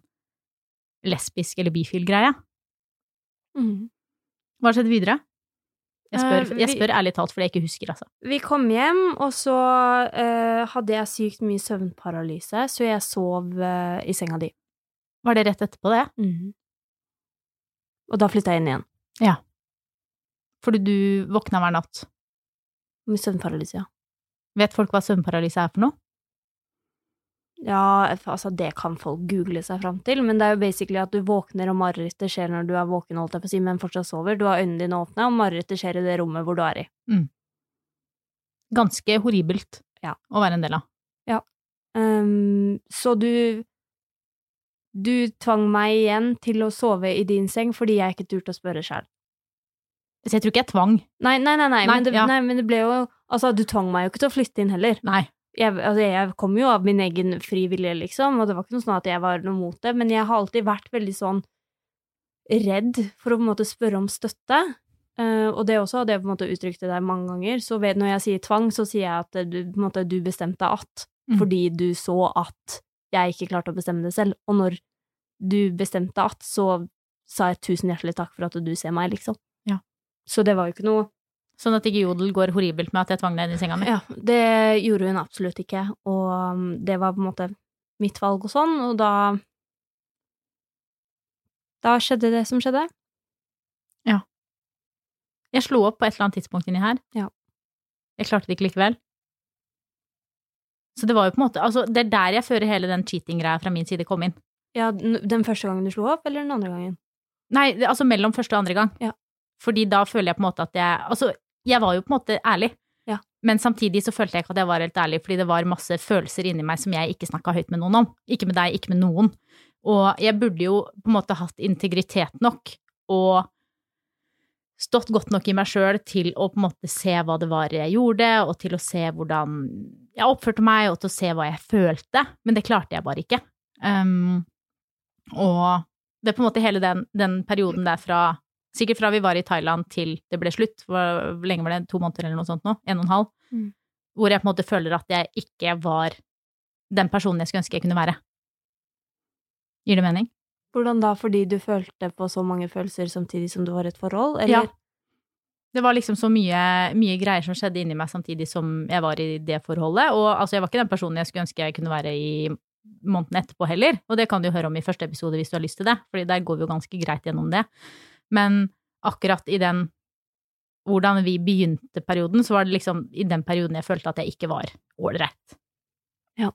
Speaker 1: lesbisk eller bifil greie. Hva skjedde videre? Jeg spør,
Speaker 2: Eh, vi-
Speaker 1: jeg spør ærlig talt, fordi jeg ikke husker, altså.
Speaker 2: Vi kom hjem, og så eh, hadde jeg sykt mye søvnparalyse, så jeg sov eh, i senga di.
Speaker 1: Var det rett etterpå det?
Speaker 2: Og da flytta jeg inn igjen.
Speaker 1: Fordi du våkna hver natt.
Speaker 2: Med søvnparalyse, ja.
Speaker 1: Vet folk hva søvnparalyse er for noe?
Speaker 2: Ja, altså det kan folk google seg fram til, men det er jo basically at du våkner, og marerittet skjer når du er våken, holdt jeg på å si, men fortsatt sover. Du har øynene dine åpne, og marerittet skjer i det rommet hvor du er i.
Speaker 1: Ganske horribelt
Speaker 2: Ja.
Speaker 1: å være en del av.
Speaker 2: Ehm, så du Du tvang meg igjen til å sove i din seng fordi jeg ikke turte å spørre sjæl.
Speaker 1: Så jeg tror ikke jeg tvang.
Speaker 2: Nei, nei, nei, nei,
Speaker 1: Nei,
Speaker 2: men det,
Speaker 1: ja.
Speaker 2: nei, men det ble jo Altså, du tvang meg jo ikke til å flytte inn heller.
Speaker 1: Nei.
Speaker 2: jeg, altså jeg kom jo av min egen fri vilje, liksom, og det var ikke noe sånn at jeg var noe mot det, men jeg har alltid vært veldig sånn redd for å på en måte spørre om støtte. Eh, og det også, det jeg på en måte uttrykte der mange ganger, så vet, når jeg sier tvang, så sier jeg at eh, du, på en måte, du bestemte at,
Speaker 1: Mm.
Speaker 2: fordi du så at jeg ikke klarte å bestemme det selv. Og når du bestemte at, så sa jeg tusen hjertelig takk for at du ser meg, liksom.
Speaker 1: Ja.
Speaker 2: Så det var jo ikke noe
Speaker 1: Sånn at ikke jodel går horribelt med at jeg tvang deg inn i senga mi.
Speaker 2: Ja, det gjorde hun absolutt ikke, og um, det var på en måte mitt valg og sånn, og da Da skjedde det som skjedde.
Speaker 1: Jeg slo opp på et eller annet tidspunkt inni her.
Speaker 2: Ja.
Speaker 1: Jeg klarte det ikke likevel. Så det var jo på en måte Altså, det er der jeg fører hele den cheating-greia fra min side kom inn.
Speaker 2: Ja, den den første gangen du slo opp, eller den andre gangen?
Speaker 1: Nei, det- altså mellom første og andre gang.
Speaker 2: Ja.
Speaker 1: Fordi da føler jeg på en måte at jeg Altså, jeg var jo på en måte ærlig.
Speaker 2: Ja.
Speaker 1: Men samtidig så følte jeg ikke at jeg var helt ærlig, fordi det var masse følelser inni meg som jeg ikke snakka høyt med noen om. Ikke med deg, ikke med noen. Og jeg burde jo på en måte hatt integritet nok og stått godt nok i meg sjøl til å på en måte se hva det var jeg gjorde, og til å se hvordan jeg oppførte meg, og til å se hva jeg følte. Men det klarte jeg bare ikke. Um, og det er på en måte hele den, den perioden der fra Sikkert fra vi var i Thailand til det ble slutt. Hvor hvor lenge var det? To måneder eller noe sånt nå? En og en halv.
Speaker 2: Mm.
Speaker 1: Hvor jeg på en måte føler at jeg ikke var den personen jeg skulle ønske jeg kunne være. Gir det mening?
Speaker 2: Hvordan da, fordi du følte på så mange følelser samtidig som du var i et forhold,
Speaker 1: Ja.
Speaker 2: eller?
Speaker 1: Det var liksom så mye, mye greier som skjedde inni meg samtidig som jeg var i det forholdet. Og altså, jeg var ikke den personen jeg skulle ønske jeg kunne være i måneden etterpå heller. Og det kan du jo høre om i første episode hvis du har lyst til det, Fordi der går vi jo ganske greit gjennom det. Men akkurat i den hvordan vi begynte perioden, så var det liksom i den perioden jeg følte at jeg ikke var ålreit.
Speaker 2: Ja.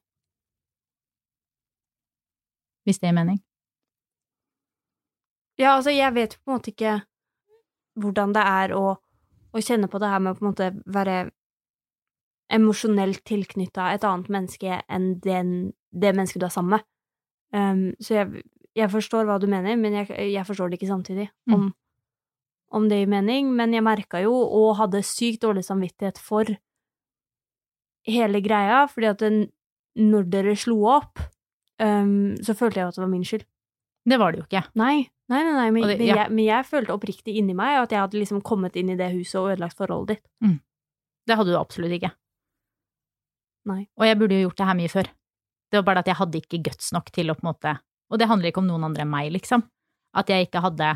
Speaker 1: Hvis det gir mening.
Speaker 2: Ja, altså, jeg vet på en måte ikke hvordan det er å, å kjenne på det her med å på en måte være emosjonelt tilknytta et annet menneske enn den, det mennesket du er sammen med. Um, så jeg, jeg forstår hva du mener, men jeg, jeg forstår det ikke samtidig.
Speaker 1: Mm.
Speaker 2: Om, om det gir mening. Men jeg merka jo, og hadde sykt dårlig samvittighet for hele greia, fordi at den, når dere slo opp, um, så følte jeg jo at det var min skyld.
Speaker 1: Det var det jo ikke.
Speaker 2: Nei, nei, nei, nei men,
Speaker 1: Og det-
Speaker 2: men,
Speaker 1: ja.
Speaker 2: jeg, men jeg følte oppriktig inni meg at jeg hadde liksom kommet inn i det huset og ødelagt forholdet ditt.
Speaker 1: Det hadde du absolutt ikke.
Speaker 2: Nei.
Speaker 1: Og jeg burde jo gjort det her mye før. Det var bare det at jeg hadde ikke guts nok til å på en måte Og det handler ikke om noen andre enn meg, liksom. At jeg ikke hadde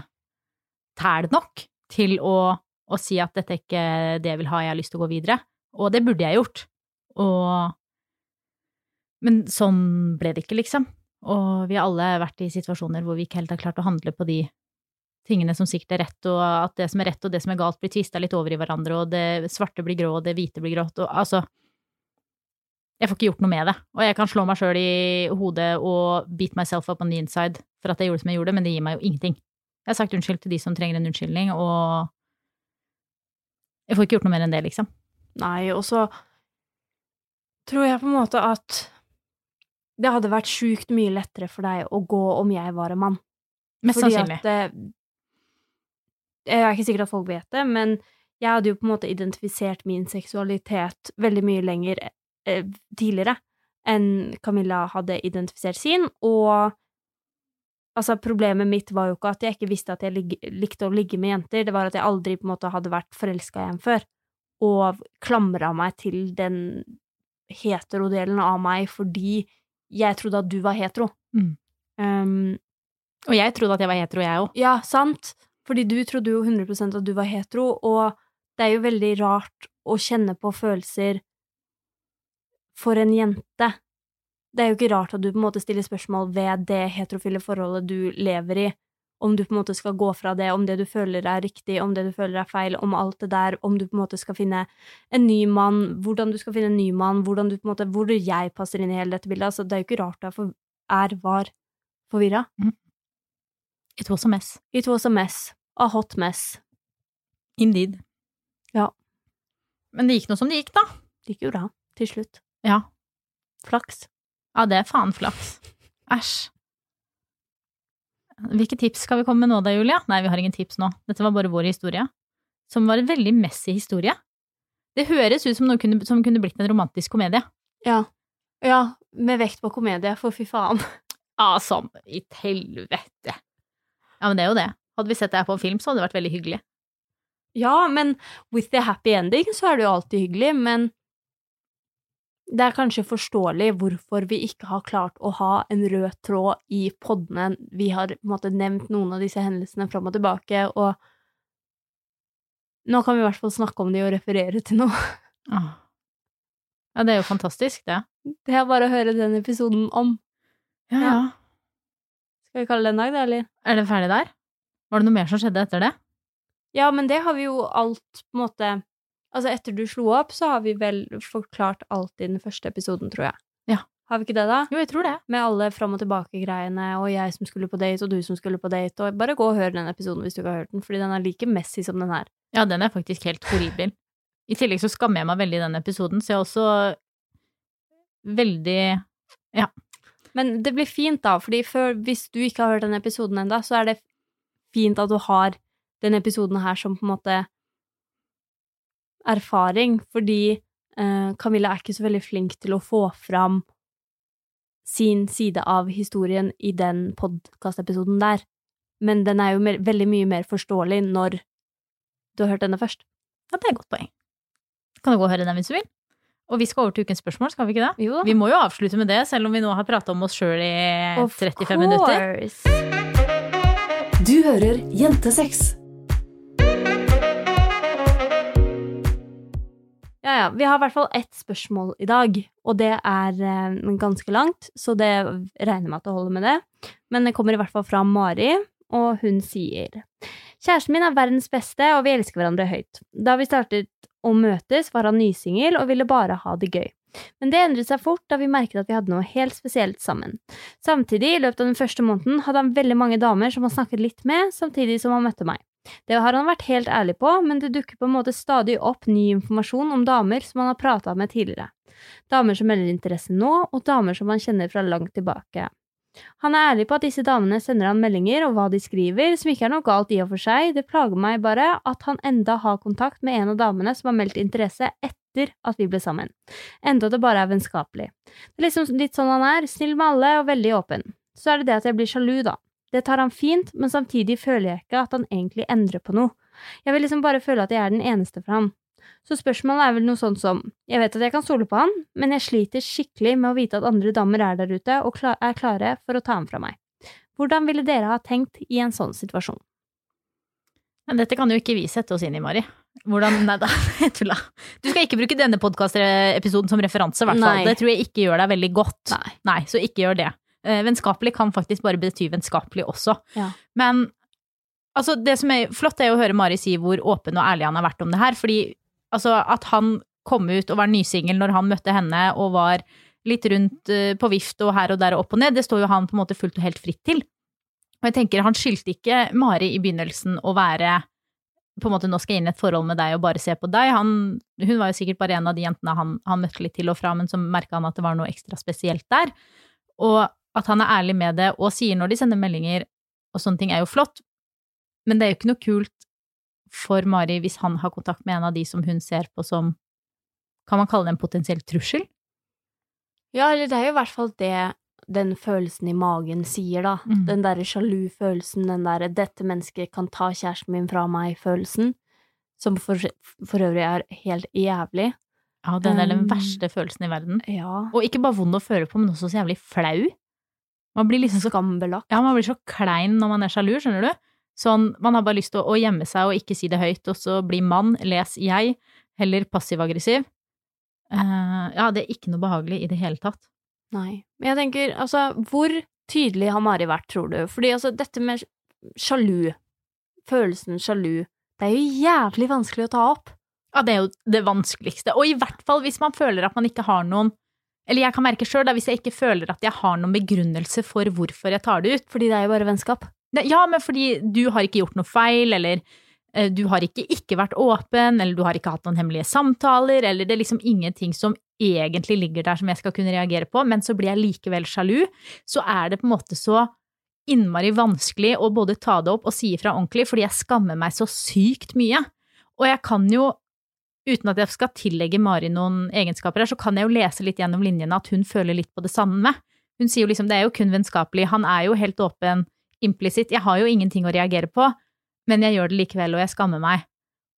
Speaker 1: tæl nok til å, å si at dette er ikke det jeg vil ha, jeg har lyst til å gå videre. Og det burde jeg gjort. Og Men sånn ble det ikke, liksom. Og vi har alle vært i situasjoner hvor vi ikke helt har klart å handle på de tingene som sikkert er rett, og at det som er rett og det som er galt, blir tvista litt over i hverandre, og det svarte blir grå, og det hvite blir grått, og altså Jeg får ikke gjort noe med det. Og jeg kan slå meg sjøl i hodet og beat myself up on the inside for at jeg gjorde som jeg gjorde, men det gir meg jo ingenting. Jeg har sagt unnskyld til de som trenger en unnskyldning, og jeg får ikke gjort noe mer enn det, liksom.
Speaker 2: Nei, og så tror jeg på en måte at det hadde vært sjukt mye lettere for deg å gå om jeg var en mann.
Speaker 1: Mest
Speaker 2: Fordi
Speaker 1: sannsynlig.
Speaker 2: At, eh, jeg er ikke sikker at folk vet det, men jeg hadde jo på en måte identifisert min seksualitet veldig mye lenger eh, tidligere enn Camilla hadde identifisert sin, og altså, problemet mitt var jo ikke at jeg ikke visste at jeg lig likte å ligge med jenter, det var at jeg aldri på en måte hadde vært forelska i en før, og klamra meg til den heterodelen av meg fordi jeg trodde at du var hetero.
Speaker 1: Mm.
Speaker 2: Um,
Speaker 1: Og jeg trodde at jeg var hetero, jeg òg.
Speaker 2: ja, sant. Fordi du trodde jo 100 at du var hetero, og det er jo veldig rart å kjenne på følelser for en jente. Det er jo ikke rart at du på en måte stiller spørsmål ved det heterofile forholdet du lever i, om du på en måte skal gå fra det, om det du føler er riktig, om det du føler er feil, om alt det der, om du på en måte skal finne en ny mann, hvordan du skal finne en ny mann, hvordan du på en måte, hvor jeg passer inn i hele dette bildet. Altså, det er jo ikke rart du er, for, er var forvirra.
Speaker 1: It was a mess.
Speaker 2: It was a mess. A hot mess.
Speaker 1: Indeed.
Speaker 2: Ja.
Speaker 1: Men det gikk nå som det gikk, da.
Speaker 2: Det gikk jo bra, til slutt.
Speaker 1: Ja.
Speaker 2: Flaks.
Speaker 1: Ja, det er faen flaks. Æsj. Hvilke tips skal vi komme med nå da, Julia? Nei, vi har ingen tips nå. Dette var bare vår historie. Som var en veldig messy historie. Det høres ut som noe kunne, som kunne blitt en romantisk komedie.
Speaker 2: Ja. Ja, med vekt på komedie, for fy faen.
Speaker 1: Ja, som i et helvete. Ja, men det er jo det. Hadde vi sett det her på film, så hadde det vært veldig hyggelig.
Speaker 2: Ja, men with the happy ending så er det jo alltid hyggelig, men det er kanskje forståelig hvorfor vi ikke har klart å ha en rød tråd i poddene. Vi har på en måte nevnt noen av disse hendelsene fram og tilbake, og nå kan vi i hvert fall snakke om de og referere til noe.
Speaker 1: Åh. Ja, det er jo fantastisk, det.
Speaker 2: Det er bare å høre den episoden om.
Speaker 1: Ja,
Speaker 2: ja. Skal vi kalle det en dag, da, eller?
Speaker 1: Er det ferdig der? Var det noe mer som skjedde etter det?
Speaker 2: Ja, men det har vi jo alt på en måte Altså, etter du slo opp, så har vi vel forklart alt i den første episoden, tror jeg.
Speaker 1: Ja.
Speaker 2: Har vi ikke det, da?
Speaker 1: Jo, jeg tror det.
Speaker 2: Med alle fram og tilbake-greiene, og jeg som skulle på date, og du som skulle på date, og bare gå og hør den episoden hvis du ikke har hørt den, fordi den er like messy som den her.
Speaker 1: Ja, den er faktisk helt horribel. I tillegg så skammer jeg meg veldig i den episoden, så jeg er også veldig
Speaker 2: Men det blir fint, da, fordi før, hvis du ikke har hørt den episoden ennå, så er det fint at du har den episoden her som på en måte erfaring, fordi eh, Camilla er ikke så veldig flink til å få fram sin side av historien i den podkastepisoden der, men den er jo mer, veldig mye mer forståelig når du har hørt denne først.
Speaker 1: Ja, det er et godt poeng. Kan du gå og høre den hvis du vil? Og vi skal over til ukens spørsmål, skal vi ikke det?
Speaker 2: Jo
Speaker 1: Vi må jo avslutte med det, selv om vi nå har prata om oss sjøl i 35 minutter.
Speaker 3: Du hører Jentesex.
Speaker 2: Ja, ja. Vi har i hvert fall ett spørsmål i dag, og det er eh, ganske langt, så det regner med at det holder med det. Men det kommer i hvert fall fra Mari, og hun sier Kjæresten min er verdens beste, og vi elsker hverandre høyt. Da vi startet å møtes, var han nysingel og ville bare ha det gøy. Men det endret seg fort da vi merket at vi hadde noe helt spesielt sammen. Samtidig, i løpet av den første måneden, hadde han veldig mange damer som han snakket litt med, samtidig som han møtte meg. Det har han vært helt ærlig på, men det dukker på en måte stadig opp ny informasjon om damer som han har prata med tidligere. Damer som melder interesse nå, og damer som han kjenner fra langt tilbake. Han er ærlig på at disse damene sender han meldinger og hva de skriver, som ikke er noe galt i og for seg, det plager meg bare at han enda har kontakt med en av damene som har meldt interesse etter at vi ble sammen, enda det bare er vennskapelig. Det er liksom litt sånn han er, snill med alle og veldig åpen. Så er det det at jeg blir sjalu, da. Det tar han fint, men samtidig føler jeg ikke at han egentlig endrer på noe. Jeg vil liksom bare føle at jeg er den eneste for han. Så spørsmålet er vel noe sånt som Jeg vet at jeg kan stole på han, men jeg sliter skikkelig med å vite at andre damer er der ute og kla- er klare for å ta ham fra meg. Hvordan ville dere ha tenkt i en sånn situasjon?
Speaker 1: Men dette kan jo ikke vi sette oss inn i, Mari. Hvordan Nei da, jeg tulla. Du skal ikke bruke denne podkastepisoden som referanse, i hvert fall.
Speaker 2: Nei.
Speaker 1: Det tror jeg ikke gjør deg veldig godt.
Speaker 2: Nei.
Speaker 1: så ikke gjør det. Eh, Vennskapelig kan faktisk bare bety vennskapelig også.
Speaker 2: Ja.
Speaker 1: Men altså, det som er flott, er jo å høre Mari si hvor åpen og ærlig han har vært om det her. Fordi altså, at han kom ut og var nysingel når han møtte henne og var litt rundt eh, på vift og her og der og opp og ned, det står jo han på en måte fullt og helt fritt til. Og jeg tenker, han skyldte ikke Mari i begynnelsen å være på en måte, nå skal jeg inn i et forhold med deg og bare se på deg. Han, hun var jo sikkert bare en av de jentene han, han møtte litt til og fra, men så merka han at det var noe ekstra spesielt der. Og at han er ærlig med det og sier når de sender meldinger og sånne ting, er jo flott. Men det er jo ikke noe kult for Mari hvis han har kontakt med en av de som hun ser på som Kan man kalle det en potensiell trussel?
Speaker 2: Ja, eller det er jo i hvert fall det den følelsen i magen sier, da.
Speaker 1: Mm.
Speaker 2: Den derre sjalu følelsen, den derre 'dette mennesket kan ta kjæresten min fra meg'-følelsen. Som for, for øvrig er helt jævlig.
Speaker 1: Ja, den er den
Speaker 2: Um.
Speaker 1: verste følelsen i verden.
Speaker 2: Ja.
Speaker 1: Og ikke bare vond å føle på, men også så jævlig flau. Man blir liksom så
Speaker 2: Skambelagt.
Speaker 1: Ja, man blir så klein når man er sjalu, skjønner du? Sånn, man har bare lyst til å, å gjemme seg og ikke si det høyt, og så bli mann, les jeg, heller passiv-aggressiv. Eh, ja, det er ikke noe behagelig i det hele tatt.
Speaker 2: Nei. Men jeg tenker, altså, hvor tydelig har Mari vært, tror du? Fordi altså, dette med sjalu, følelsen sjalu, det er jo jævlig vanskelig å ta opp.
Speaker 1: Ja, det er jo det vanskeligste. Og i hvert fall hvis man føler at man ikke har noen Eller jeg kan merke sjøl, hvis jeg ikke føler at jeg har noen begrunnelse for hvorfor jeg tar det ut.
Speaker 2: Fordi det er jo bare vennskap.
Speaker 1: Ne- Ja, men fordi du har ikke gjort noe feil, eller eh, du har ikke ikke vært åpen, eller du har ikke hatt noen hemmelige samtaler, eller det er liksom ingenting som egentlig ligger der som jeg skal kunne reagere på, men så blir jeg likevel sjalu, så er det på en måte så innmari vanskelig å både ta det opp og si ifra ordentlig, fordi jeg skammer meg så sykt mye. Og jeg kan jo, uten at jeg skal tillegge Mari noen egenskaper her, så kan jeg jo lese litt gjennom linjene at hun føler litt på det samme. Hun sier jo liksom det er jo kun vennskapelig, han er jo helt åpen, implisitt. Jeg har jo ingenting å reagere på, men jeg gjør det likevel, og jeg skammer meg.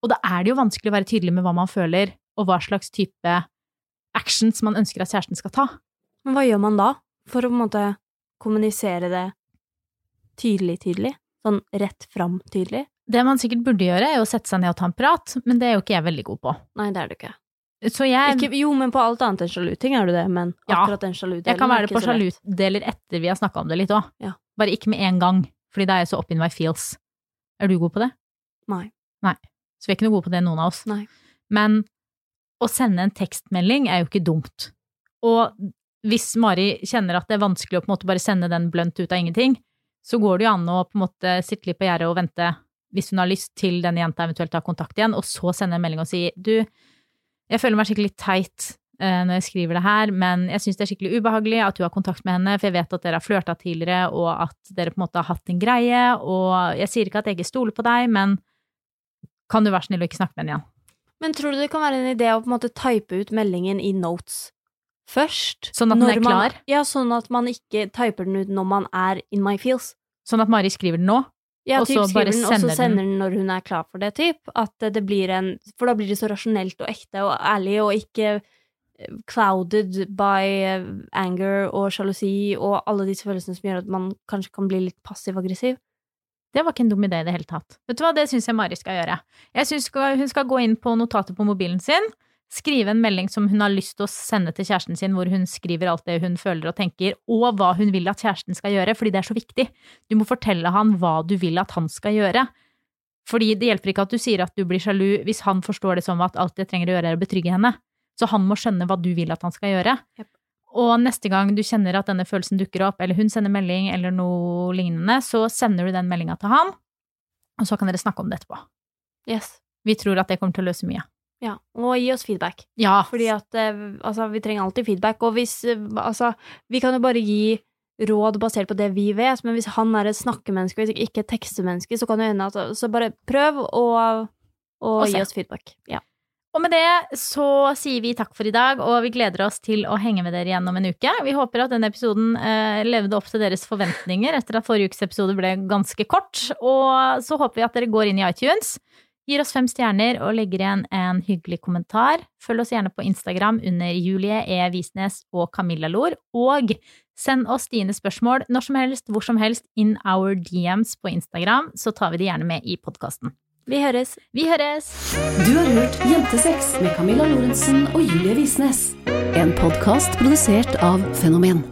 Speaker 1: Og da er det jo vanskelig å være tydelig med hva man føler, og hva slags type actions man ønsker at kjæresten skal ta.
Speaker 2: Men hva gjør man da, for å på en måte kommunisere det tydelig, tydelig? Sånn rett fram tydelig?
Speaker 1: Det man sikkert burde gjøre, er å sette seg ned og ta en prat, men det er jo ikke jeg veldig god på.
Speaker 2: Nei, det er det ikke.
Speaker 1: Så jeg,
Speaker 2: ikke jo, men på alt annet enn sjaluting er du det, men
Speaker 1: Ja.
Speaker 2: akkurat den sjaludelen
Speaker 1: jeg kan
Speaker 2: er
Speaker 1: være det
Speaker 2: ikke
Speaker 1: på
Speaker 2: så lett.
Speaker 1: sjaludeler etter vi har snakka om det litt òg.
Speaker 2: Ja.
Speaker 1: Bare ikke med en gang, fordi da er jeg så up in my feels. Er du god på det?
Speaker 2: Nei.
Speaker 1: Nei. Så vi er ikke noe gode på det, noen av oss.
Speaker 2: Nei.
Speaker 1: Men å sende en tekstmelding er jo ikke dumt. Og hvis Mari kjenner at det er vanskelig å på en måte bare sende den blunt ut av ingenting, så går det jo an å på en måte sitte litt på gjerdet og vente, hvis hun har lyst, til denne jenta eventuelt tar kontakt igjen, og så sende en melding og si du, jeg føler meg skikkelig teit eh, når jeg skriver det her, men jeg syns det er skikkelig ubehagelig at du har kontakt med henne, for jeg vet at dere har flørta tidligere, og at dere på en måte har hatt en greie, og jeg sier ikke at jeg ikke stoler på deg, men kan du være snill og ikke snakke med henne igjen?
Speaker 2: Men tror du det kan være en idé å på en måte type ut meldingen i notes først?
Speaker 1: Sånn at den
Speaker 2: Når
Speaker 1: er
Speaker 2: man-
Speaker 1: klar?
Speaker 2: Ja, sånn at man ikke typer den ut når man er in my feels.
Speaker 1: Sånn at Mari skriver det nå,
Speaker 2: Ja,
Speaker 1: Og
Speaker 2: typ
Speaker 1: så bare
Speaker 2: skriver den, og
Speaker 1: sender
Speaker 2: så
Speaker 1: den.
Speaker 2: sender den når hun er klar for det, typ. At eh, det blir en For da blir det så rasjonelt og ekte og ærlig, og ikke eh, clouded by eh, anger og sjalusi og alle disse følelsene som gjør at man kanskje kan bli litt passiv-aggressiv.
Speaker 1: Det var ikke en dum idé i det hele tatt. Vet du hva, det syns jeg Mari skal gjøre. Jeg syns skal- hun skal gå inn på notatet på mobilen sin, skrive en melding som hun har lyst til å sende til kjæresten sin, hvor hun skriver alt det hun føler og tenker, og hva hun vil at kjæresten skal gjøre, fordi det er så viktig. Du må fortelle han hva du vil at han skal gjøre. Fordi det hjelper ikke at du sier at du blir sjalu, hvis han forstår det som at alt jeg trenger å gjøre, er å betrygge henne. Så han må skjønne hva du vil at han skal gjøre.
Speaker 2: Jep.
Speaker 1: Og neste gang du kjenner at denne følelsen dukker opp, eller hun sender melding eller noe lignende, så sender du den meldinga til han, og så kan dere snakke om det etterpå.
Speaker 2: Yes.
Speaker 1: Vi tror at det kommer til å løse mye.
Speaker 2: Ja. Og gi oss feedback.
Speaker 1: Ja,
Speaker 2: Fordi at eh, altså, vi trenger alltid feedback. Og hvis eh, Altså, vi kan jo bare gi råd basert på det vi vet, men hvis han er et snakkemenneske og ikke et tekstemenneske, så kan det hende at Så bare prøv å, å
Speaker 1: Og se.
Speaker 2: gi oss feedback. Ja.
Speaker 1: Og med det så sier vi takk for i dag, og vi gleder oss til å henge med dere igjen om en uke. Vi håper at denne episoden eh, levde opp til deres forventninger etter at forrige ukes episode ble ganske kort. Og så håper vi at dere går inn i iTunes, gir oss fem stjerner og legger igjen en hyggelig kommentar. Følg oss gjerne på Instagram under Julie E. Visnes og Camilla Lor. Og send oss dine spørsmål når som helst, hvor som helst, in our DMs på Instagram, så tar vi de gjerne med i podkasten.
Speaker 2: Vi høres.
Speaker 1: Vi høres!
Speaker 3: Du har hørt Jentesex med Camilla Lorentzen og Julie Visnes. En podkast produsert av Fenomen.